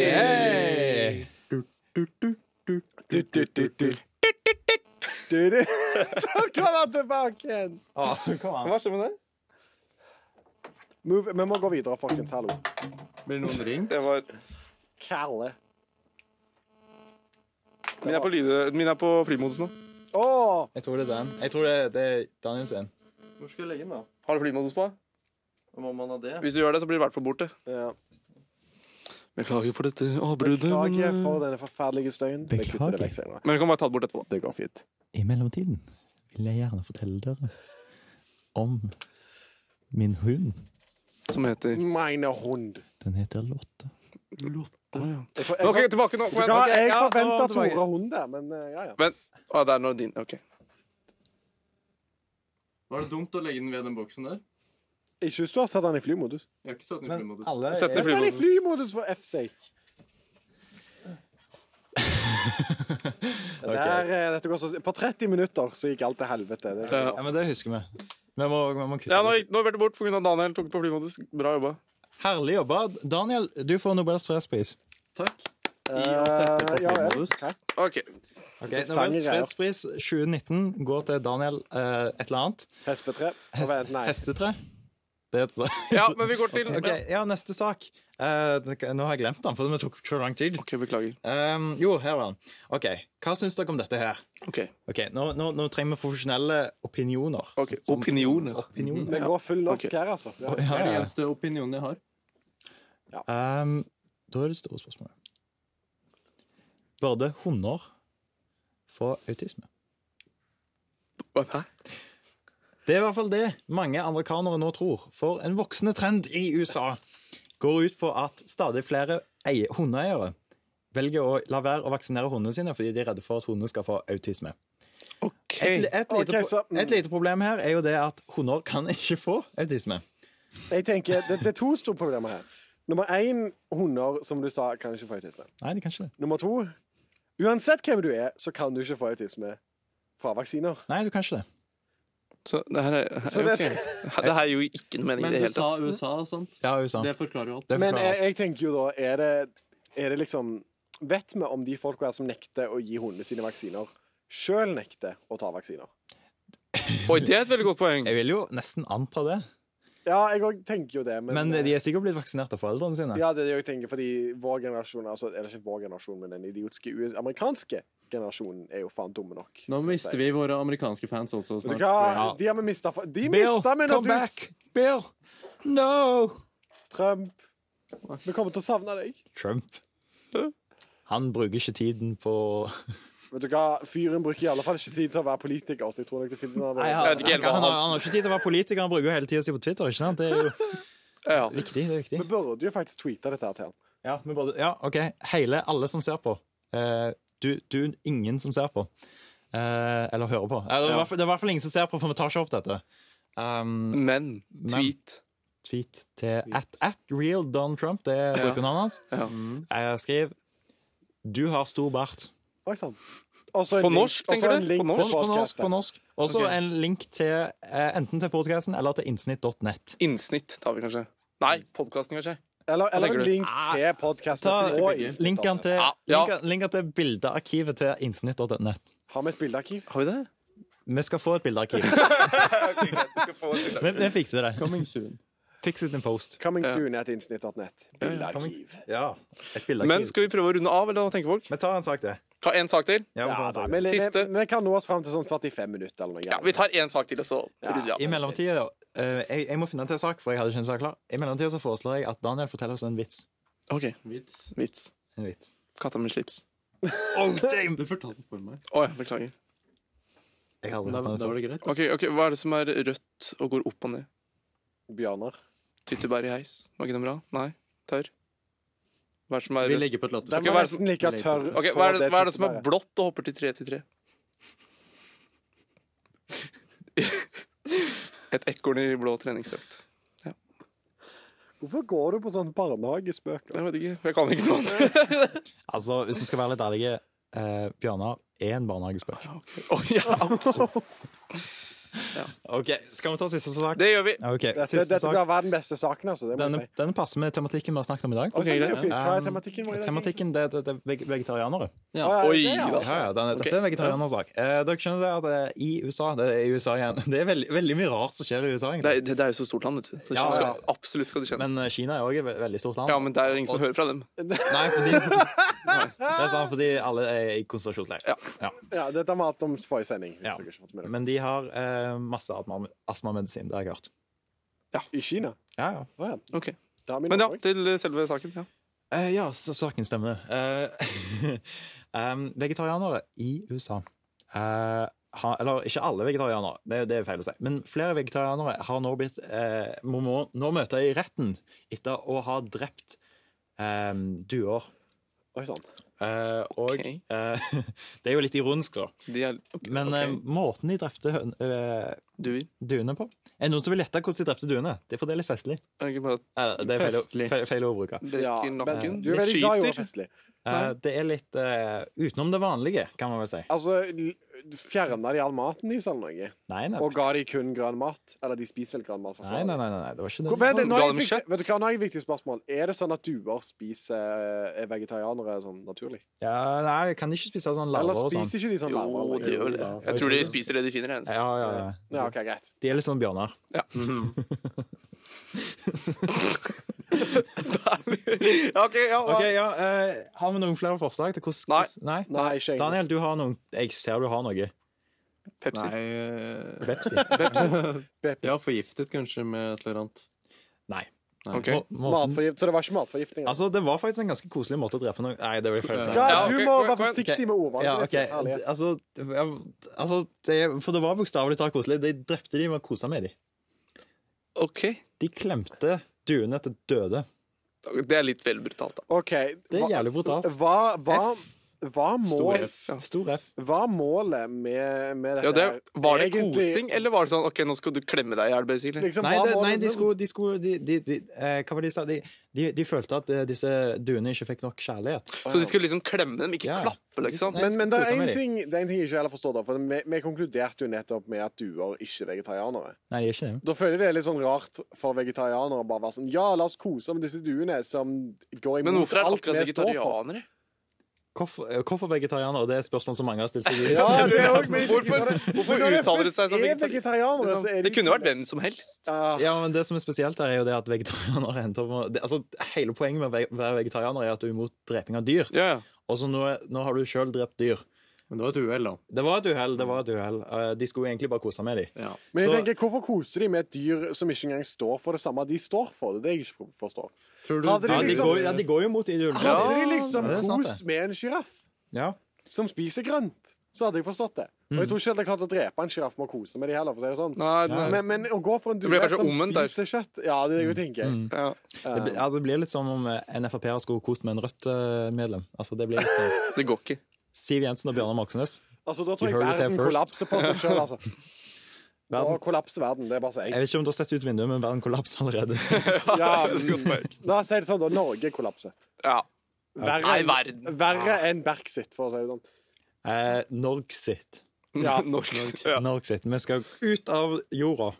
Hei! Hei!
Du, du, du, du. Du, du. Så kom han tilbake igjen.
Kom an.
Hva skjer med det?
Move. Vi må gå videre, folkens. Hallo.
Blir det noen ring?
det var,
Kalle.
min, er på lyde, min er på flymodus nå.
Å!
Jeg tror det er den. Jeg tror det, det er Daniel sin.
Hvor skal jeg legge den, da?
Har du flymodus på?
Og må man ha det?
Hvis du gjør det, så blir du i hvert fall borte.
Ja.
Beklager for dette avbruddet.
Beklager
men, eh,
for denne forferdelige støyen. Vi kutter det
Beklager.
vekk senere.
Men vi kan bare ta det bort etterpå.
Det går fint.
I mellomtiden vil jeg gjerne fortelle dere om min hund.
Som heter
Meine Hund.
Den heter Lotte.
Å, ja.
Jeg for,
OK,
jeg,
tilbake nå. Kom
for,
igjen.
ja,
Ok,
jeg
ja, nå
forventa
tilbake.
Tore Hund der, men eh, ja, ja.
Men Å, det er når din OK.
Var det dumt å legge den ved den boksen der?
Ikke hvis du har satt han i flymodus.
Jeg har ikke satt den i flymodus.
Sett den i
Sett han i
flymodus.
flymodus for F sake. Det her, eh, dette går så, på 30 minutter så gikk alt til helvete. Det,
Ja.
Ja, men det husker vi. Vi må, vi må kutte
Ja, nå,
det.
gikk- nå ble det bort pga. Daniel tok på flymodus. Bra jobba.
Herlig jobba. Daniel, du får Nobels fredspris.
Takk. I å sette på
Eh, ja, ja.
flymodus.
Hæ?
OK.
Okay,
Interessante
Nobels
greier.
fredspris 2019 går til Daniel eh, et eller annet.
SP3. Å,
Hest,
vent, Nei.
Hestetre. Det heter det.
Ja, men vi går til
Ok, ja, neste sak. Eh, nå har jeg glemt den, for det tok så lang tid.
OK, beklager.
Um, jo, her var den. OK, hva syns dere om dette her?
OK.
Ok, Nå, nå, nå trenger vi profesjonelle opinioner.
Ok, Opinioner.
Opinioner.
Det går full norsk
Ok.
her, altså. Ja.
Det er
Ja,
den
ja.
eneste opinionen jeg har.
Um, da er det store spørsmålet. Burde hunder få autisme?
Hæ?
Det er i hvert fall det mange amerikanere nå tror, for en voksende trend i USA går ut på at stadig flere eie- hundeeiere velger å la være å vaksinere hundene sine fordi de er redde for at hundene skal få autisme.
OK.
Et, et, lite,
Ok, så-
pro- et lite problem her er jo det at hunder kan ikke få autisme.
Jeg tenker, det, det er to store problemer her. Nummer én hunder, som du sa, kan ikke få autisme.
Nei, de kan ikke det.
Nummer to uansett hvem du er, så kan du ikke få autisme fra vaksiner.
Nei, du kan ikke det.
Så det her er
Så det-
ok. Det her gir jo ikke noe mening i det
Men du
hele
sa
tatt.
USA og sånt.
Ja, USA.
Det forklarer jo alt.
Det
Men
forklarer
jeg,
alt.
jeg tenker jo da Er det, er det liksom Vet vi om de folka her som nekter å gi hundene sine vaksiner, sjøl nekter å ta vaksiner?
Oi, det er et veldig godt poeng.
Jeg vil jo nesten anta det.
Ja, jeg òg tenker jo det, men,
eh,
Men de er sikkert blitt vaksinert av foreldrene sine.
Ja, det er det jeg tenker, fordi vår generasjon Altså, er det ikke vår generasjon, men den idiotiske US amerikanske generasjonen er jo faen dumme nok.
Nå mister vi våre amerikanske fans også
Vet
snart.
du hva?
tror jeg.
De har vi mista De mista vi når du
Bill! No!
Trump. Vi kommer til å savne deg.
Trump. Han bruker ikke tiden på
Vet du hva, Fyren bruker i alle fall ikke tid til å være politiker. Så jeg tror nok det finnes en annen-
han,
Jeg vet ikke helt hva
han,
han-
har- han har ikke tid til å være politiker, han bruker jo hele tida si på Twitter. ikke sant? Det er jo
Ja.
viktig. det er viktig.
Vi burde jo faktisk tweete dette her til han.
Ja, men både, ja, OK. Hele, alle som ser på. Eh, du, du, ingen som ser på. Eh, eller hører på. Eh, det, er i hvert fall- det er i hvert fall ingen som ser på, for vi tar ikke opp dette. Um,
Men tweet.
tweet til at, at real Don Trump, det er brukernavnet hans.
Ja.
Eh, skriv 'Du har stor bart'.
Oi sann. Og så en
På
link-
norsk,
og så
tenker
en
du?
link
På,
På
på norsk.
podcasten.
på norsk. Og så
Ok.
en link til eh, enten til podkasten eller til innsnitt.nett.
Innsnitt tar vi kanskje. Nei, podkasten kanskje.
Eller, eller
tenker
en
du?
link til podkasten.
Ah, Ta linken til,
Ja, ja.
linken, linken til bildearkivet til innsnitt.net.
Har vi et bildearkiv?
Har vi det?
Vi skal få et bildearkiv. vi, vi fikser det.
Coming soon.
Fiks it in post.
Coming soon at innsnitt.net. Bildearkiv.
Ja, et bildearkiv.
Men skal vi prøve å runde av, eller hva tenker folk?
Vi tar en sak til.
Ka- En sak til?
Ja, vi tar en sak
Ja,
til.
men vi,
Siste.
vi kan nå oss fram til sånn 45 minutter eller noe.
Ja, Vi tar en sak til, og så runder vi av.
I mellomtida eh, jeg, jeg må finne til en sak, for jeg hadde ikke en sak klar. I mellomtida så foreslår jeg at Daniel forteller oss en vits.
Ok,
Vits.
Vits.
En vits.
Katta med slips.
Du fortalte for meg.
Å ja, beklager.
Jeg har aldri
Da,
hørt
da
den
var
før.
det greit.
Ok, ok, Hva er det som er rødt og går opp og ned?
Bjørnar.
Tyttebær i heis. Var ikke den bra? Nei? Tørr? Hva er det som er
Vi
rødt?
legger på et latter.
Den
hva
var
er det
nesten like tørr.
Ok,
som
hva, er det, hva er det som er
tyttebæret.
blått og hopper til tre til tre? Et ekorn i blå treningsdrakt.
Hvorfor går du på sånn barnehagespøk?
Jeg vet ikke, for jeg kan ikke noe annet.
Altså, hvis vi skal være litt ærlige, eh, Bjørnar er en barnehagespøk.
Å, ja.
OK, skal vi ta siste sak?
Det gjør vi.
OK,
Dette,
siste
dette
sak.
blir verdens beste saken, altså. Det må
Denne,
jeg si.
denne passer med tematikken vi har snakket om i dag.
Ok, det er jo
greit.
fint. Hva er
Um,
tematikken vår i dag?
Tematikken det, det, det er veg- vegetarianere.
Å, er
Ja.
det
Oi,
det, ja?
da.
Ja, ja, den, Dette er en vegetarianersak. Eh, dere skjønner det at eh, i USA Det er i USA igjen. Det er veldig, veldig mye rart som skjer i USA.
Det
egentlig.
er, det, det er jo så stort land, vet du. Så
Ja,
skal,
ja.
absolutt skal du kjenne.
Men eh, Kina er òg et ve- veldig stort land.
ja, men det er jo ingen som hører fra dem.
Nei, fordi Det er sant, fordi alle er i konsentrasjonsleir.
Ja.
Ja, dette har vi hatt om forrige sending. hvis
Ja.
dere ikke har fått med dere.
Men de har eh, masse astma- astmamedisin. Det har jeg hørt.
I Kina?
Ja, ja.
Å ja.
Ok.
Det har vi
Men ja,
nå også.
til selve saken. Ja.
Eh, ja, så saken stemmer. Eh, em, vegetarianere i USA eh, har, Eller ikke alle vegetarianere, det, er- det er feil å si. Men flere vegetarianere har nå blitt eh, må, må nå møte i retten etter å ha drept em, duer.
Oi sann.
Eh, og
Ok.
eh, Det er jo litt ironisk, da.
De er ok,
Men
ok.
eh, måten de drepte høn, eh,
Du vil?
duene på Er det noen som vil gjette hvordan de drepte duene? Det er for det er litt festlig.
Er det ikke bare
Nei, det er feil, å-
Festlig.
feil, feil å bruke.
drikker
Ja,
nakken?
men du er
Litt
veldig glad i
skyter.
ordet festlig.
Eh, det er litt eh, utenom det vanlige, kan man vel si.
Altså, l- fjerna de all maten deres eller noe?
Nei, nei.
Og ga de kun grønn mat? Eller de spiser vel grønn mat? fra
Nei,
før?
nei, nei, nei, nei, det var ikke det.
Hvor- Vet, du, nå
Ga
er et
dem
viktig,
kjøtt?
vet du hva, nå er et viktig spørsmål. Er det sånn at duer spiser er vegetarianere sånn naturlig?
Ja, nei, jeg kan ikke spise sånn
Eller
larver og sånn.
spiser ikke de sånn
Jo,
larver?
det gjør vel det.
Ja, jeg
Jeg tror
tror
de
det.
spiser det de finner. jeg.
Ja, ja, ja.
Ja, ok, greit.
De er litt sånn bjørner.
Ja, ok, ja, hva-
Ok, ja, eh, Har vi noen flere forslag til
Nei.
hvordan Nei.
Nei, ikke egentlig.
Daniel, du har noen Jeg ser du har noe.
Pepsi.
Nei eh,
Pepsi.
Pepsi.
Ja, forgiftet kanskje med et eller annet.
Nei.
Ok.
Må- måten-
Matforgift, så det var ikke matforgiftning? altså.
Altså, det var faktisk en ganske koselig måte å drepe noen Nei, det var jo feil. å si.
Ja,
Ja,
du
ok,
må
kom-
være
kom-
forsiktig med ordvalget.
Ja,
ditt,
OK.
ærlig.
Altså, det- ja, altså det, For det var bokstavelig talt koselig. De drepte de med å kose med de.
Ok.
De klemte duene til døde.
Det er litt vel brutalt, da.
OK.
Det er
hva-
jævlig brutalt.
Hva, hva, hva, må,
Stor F, ja.
Stor F.
hva er målet med, med dette?
Ja, det, var det
Egentlig-
kosing, eller var det sånn OK, nå skal du klemme deg i hjel, basically?
Liksom,
Nei,
hva
det,
må
nei,
det-
de skulle, de skulle de, de, de, eh, Hva var det de sa? De, de, de følte at eh, disse duene ikke fikk nok kjærlighet.
Så de skulle liksom klemme dem, ikke
Ja.
klappe, liksom?
Nei.
Men, men det, er
Kosa
en
med de.
ting, det er en ting jeg ikke heller forstår, da, for vi, vi konkluderte jo nettopp med at duer ikke er vegetarianere.
Nei, de er ikke det.
Da føler jeg det er litt sånn rart for vegetarianere å bare være sånn Ja, la oss kose med disse duene som går
Men
imot
hvorfor er det
alt
akkurat
vi står for.
vegetarianere?
Hvorfor, eh, hvorfor vegetarianere? Det er et spørsmål som mange har stilt seg. i-
Ja, det er også mye
Hvorfor-
når det-
hvorfor
når det
uttaler de
først
seg som
er
vegetari-
vegetarianere? så er
Liksom,
de
det kunne
ikke
vært hvem som helst.
Ja.
Ja, men Det som er spesielt, her er jo det at vegetarianere endte opp med det, altså, Hele poenget med å ve- være vegetarianer er at du er imot dreping av dyr.
Ja, ja.
Og så nå, er- nå har du sjøl drept dyr.
Men det var et uhell, da.
Det var et uhell. det var et uhell. Eh, De skulle egentlig bare kose med de.
Ja.
Men jeg
Så-
tenker, hvorfor koser de med et dyr som ikke engang står for det samme de står for? Det er det jeg ikke forstår.
Tror
Hadde de
Ja, de
liksom-
går, ja, de går jo mot ideologien.
Hadde
deres.
de liksom
Ja, det er sant,
kost
det.
med en sjiraff
Ja.
som spiser grønt, så hadde jeg forstått det. Og
Mm.
jeg tror ikke at jeg klarte å drepe en sjiraff med å kose med de heller. for å si det sånn.
Nei, nei.
Men, men å gå for en
blir
due
kanskje
som
omvendt der.
spiser kjøtt Ja, det er det jeg tenker.
Mm.
Ja.
Det, blir- ja, det blir litt som om eh, en Frp-er skulle kost med en Rødt-medlem. Altså, det blir litt... eh,
Det går ikke.
Siv Jensen og Bjørnar Moxnes.
Altså, Da
You
tror jeg
heard it there
verden
first.
kollapser på seg sjøl, altså. Da
Verden.
kollapser verden. Det er bare å si.
Jeg vet ikke om du har sett ut vinduet, men verden kollapser allerede.
Ja, mm. La oss si det sånn, da. Norge kollapser.
Ja.
Verre,
Nei,
enn-
verden.
verre enn Brexit, for å si det sånn.
Eh, Norg sitt.
Ja, Norge. Ja.
Norg sitt. Vi skal ut av jorda.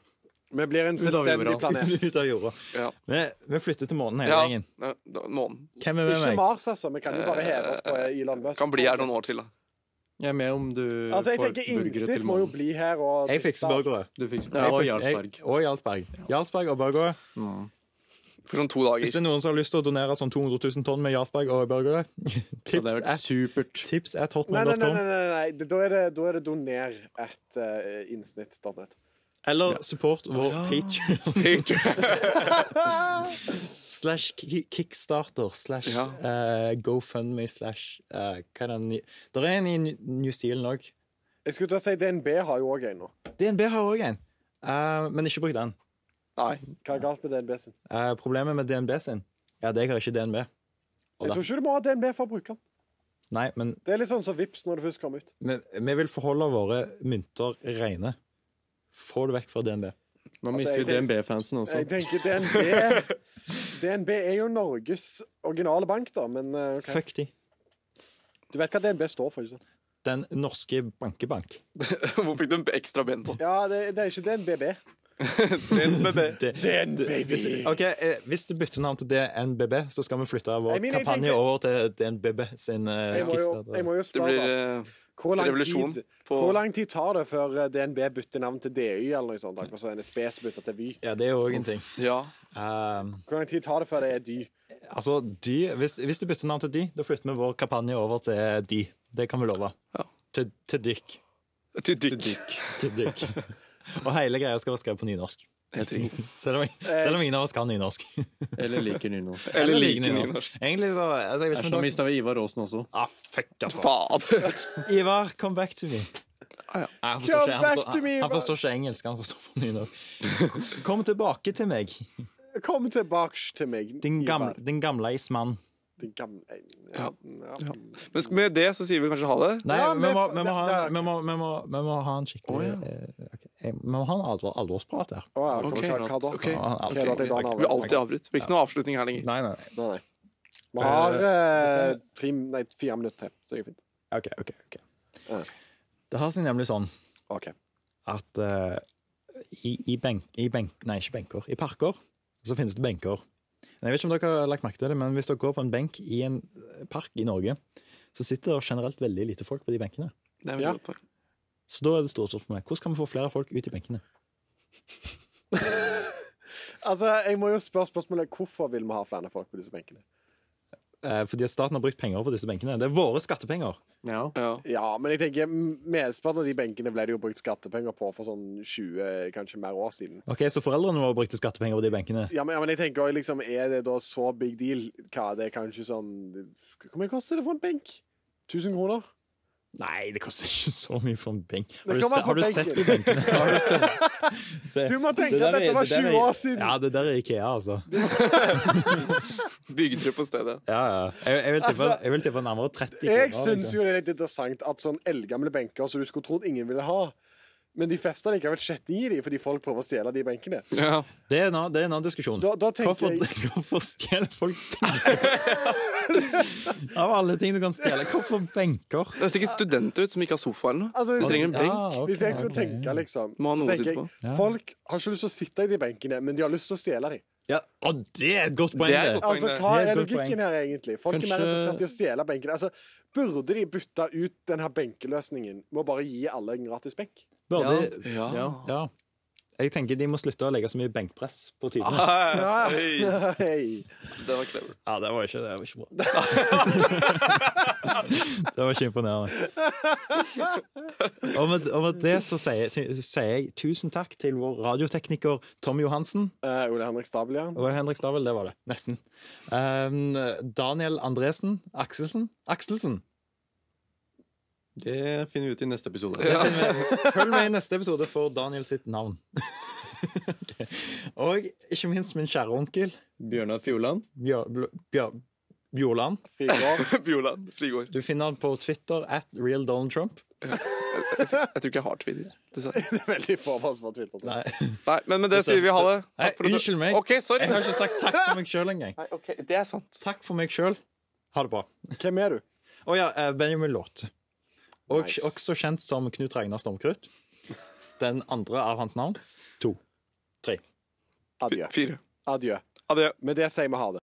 Vi blir en
Ut av
selvstendig
jorda.
planet.
ut av jorda.
Ja.
Vi, vi flytter til månen hele
Ja,
gjengen.
ja, da- månen.
Hvem er med
Ikke
meg?
Mars, altså. Vi kan jo bare heve oss på Elon Musk.
Eh, Kan bli her noen år til, da.
Jeg er med om du
Altså, jeg
får
tenker
burgere
Innsnitt
til
må jo
månen.
bli her og
Jeg fikser burgere.
Du fikser
Ja,
ja, og
Jeg-
Jarlsberg.
Og Jarlsberg. Jarlsberg og burgere.
For sånn to
Hvis det
dager.
er noen som har lyst til å donere sånn 200 000 tonn med Jarlsberg og burgere,
Det hadde
tips
vært
at,
supert.
tips at
Nei, nei, nei, nei,
hotmail.com.
nei, nei. Det- Da er det, da er det doner et uh, innsnitt.net.
Eller support vår Patreon slash ki- Kickstarter slash
Ja.
eh, GoFundMe slash eh, Hva er den Der er en i New- New Zealand òg.
Jeg skulle til å si DNB har jo òg en nå.
DNB har òg en, Eh, men ikke bruk den.
Nei.
Hva er galt med DNB sin?
Eh, problemet med DNB sin er at jeg har ikke DNB. Og
Jeg
da-
tror ikke du må ha DNB for å bruke den.
Nei, men
Det er litt sånn som Vips når det først kommer ut.
vi, vi vil forholde våre mynter rene. Få det vekk fra DNB.
Nå
Altså,
mister
jeg
vi
tenker-
DNB-fansen også.
Jeg tenker DNB DNB er jo Norges originale bank, da, men eh, ok.
Fuck de.
Du vet hva DNB står for, ikke sant?
Den norske bankebank.
Hvor fikk du en ekstra ben på?
Ja, det, det er ikke DNBB.
Det, hvis, ok, eh, hvis du bytter navn til DNBB, så skal vi flytte vår
Jeg mener, jeg
kampanje
tenker-
over til DNBB sin eh,
Jeg må jo, jeg
Kickstarter.
må jo
Det
spørre,
blir
da.
eh,
Hvor lang,
revolusjon
tid,
på-
hvor lang tid tar det før eh, DNB bytter navn til DY, eller noe sånt, da? Altså, og så NSB som bytter til Vy?
Ja, det er jo òg en ting.
Ja.
Um,
Hvor lang tid tar det før det er Dy?
altså, de, hvis, hvis du bytter navn til de, da flytter vi vår kampanje over til de. Det kan vi love.
Ja.
Til, til dykk.
Til dykk.
Til dykk. Og hele greia skal være skrevet på nynorsk.
Helt riktig.
Selv om,
Eh.
selv om ingen av oss kan nynorsk.
Eller liker nynorsk.
Eller liker nynorsk.
Egentlig så altså, jeg vet ikke
Så
om dere...
mista vi Ivar Aasen også.
Ah, fuck, altså.
Faen!
Ivar, come back to me.
Ah, ja.
Nei, han forstår
Come
ikke, han
back
forstår,
to me,
han, han
Ivar.
forstår ikke engelsk, han forstår på nynorsk. Kom tilbake til meg,
Kom tilbake til meg.
din,
Ivar.
gamle, din gamleis mann.
Din gamle
Ja.
ja.
Ja. Men sk- med det så sier vi kanskje ha det.
Nei,
Ja,
vi
men
må,
fa-
vi, må ha,
det- det-
en- vi, må, vi, må, vi må ha en skikkelig
Å,
eh, ok. Jeg- Vi må ha en alvor, alvorsprat her.
Å, ja,
Ok.
Hva da?
Ok.
Vi må ha en
Ok, da
alvor-
tenker jeg han
Vi alltid avbryter. Blir ikke noe avslutning her lenger.
Nei, nei.
Nei, nei. Vi har eh, tre, nei, fire minutter til, så det er fint.
OK, OK.
Ja.
ok Det har seg nemlig sånn
OK.
at eh, i, i, benk, i benk... Nei, ikke benker. I parker så finnes det benker. Men Jeg vet ikke om dere har lagt merke til det, men hvis dere går på en benk i en eh, park i Norge, så sitter det generelt veldig lite folk på de benkene.
Det er vi
Ja.
gode på.
Så da er det store spørsmålet hvordan kan vi få flere folk ut i benkene?
Altså, jeg må jo spørre spørsmålet hvorfor vil vi ha flere folk på disse benkene?
Eh, fordi at staten har brukt penger på disse benkene. Det er våre skattepenger.
Ja.
Ja.
Ja, men jeg tenker m- mesteparten av de benkene ble det jo brukt skattepenger på for sånn 20, kanskje mer år siden.
Ok, Så foreldrene våre brukte skattepenger på de benkene.
Ja, men, ja, men jeg tenker også, liksom, Er det da så big deal? Hva, det er kanskje sånn Hvor mye koster det for en benk? 1000 kroner?
Nei, det koster ikke så mye for en benk. Har
Det
du,
kan
se,
være på
har du sett de benkene? Har du, sett? Se,
Du må tenke
det der
at dette
er-
var
det der er-
20 år siden.
Ja, det der er Ikea, altså.
Byggetrø på stedet.
Ja, ja. Jeg, jeg, vil tippe,
Altså,
jeg vil tippe nærmere 30
Jeg
kroner,
syns
liksom.
jo det er litt interessant at sånn eldgamle benker som du skulle trodd ingen ville ha, men de fester likevel kjetting i de fordi folk prøver å stjele de benkene.
Ja.
Det er en annen- det er en annen diskusjon.
Da, da tenker
Hvorfor,
jeg
hvorfor stjeler folk benker? Av alle ting du kan stjele, hvorfor benker?
Det er sikkert studenter ut som ikke har sofa eller noe.
Altså,
De
hvis,
trenger en benk.
Ah, ok,
hvis jeg skulle
ok.
tenke, liksom
Må ha
så
noe å
tenker
sitte
jeg,
på.
Ja.
Folk har ikke lyst til å sitte i de benkene, men de har lyst til å stjele de.
Ja, og det er et godt poeng,
Det er et
det.
godt-
Altså,
Poeng
Hva
Det er
er
et godt
logikken her, egentlig? Folk er mer
Kanskje-
interessert i å stjele benkene. Altså, burde de bytte ut denne benkeløsningen med å bare gi alle en gratis benk?
Både,
Ja.
Ja.
ja. Jeg tenker de må slutte å legge så mye benkpress på tidene.
Ah, Hei.
Hei.
Det var clever.
Ja, det var ikke, det var ikke bra. det var ikke imponerende. Og med, og med det så sier, jeg- ty- sier jeg tusen takk til vår radiotekniker Tom Johansen.
Eh, Ole Henrik Stabelian.
Og Henrik Stavel, det var det. Nesten. Um, Daniel Andresen. Akselsen. Akselsen.
Det finner vi ut i neste episode.
Følg med i neste episode for Daniel sitt navn. Ok. Og ikke minst min kjære onkel
Bjørnar Fjoland.
Bjør, Bl- Bjør, Bjorland.
Fire år.
Bjoland. Frigård.
Du finner han på Twitter at real Donald Trump.
Jeg tror ikke jeg har Twitter. Dessverre.
Det er veldig få av oss som har tvilt
Nei,
Nei, men med det sier vi ha det.
Nei
Takk for at du-
unnskyld meg.
OK, sorry.
Jeg har ikke sagt takk for meg sjøl engang.
Nei, ok, Det er sant.
Takk for meg sjøl. Ha det bra.
Hvem er du?
Å ja, eh, Benjamin Låt. Og,
Nice.
Også kjent som Knut Ragnar Stormkrutt. Den andre av hans navn. To.
Adjø.
Fire.
Adjø.
Adjø.
Med det sier vi ha det.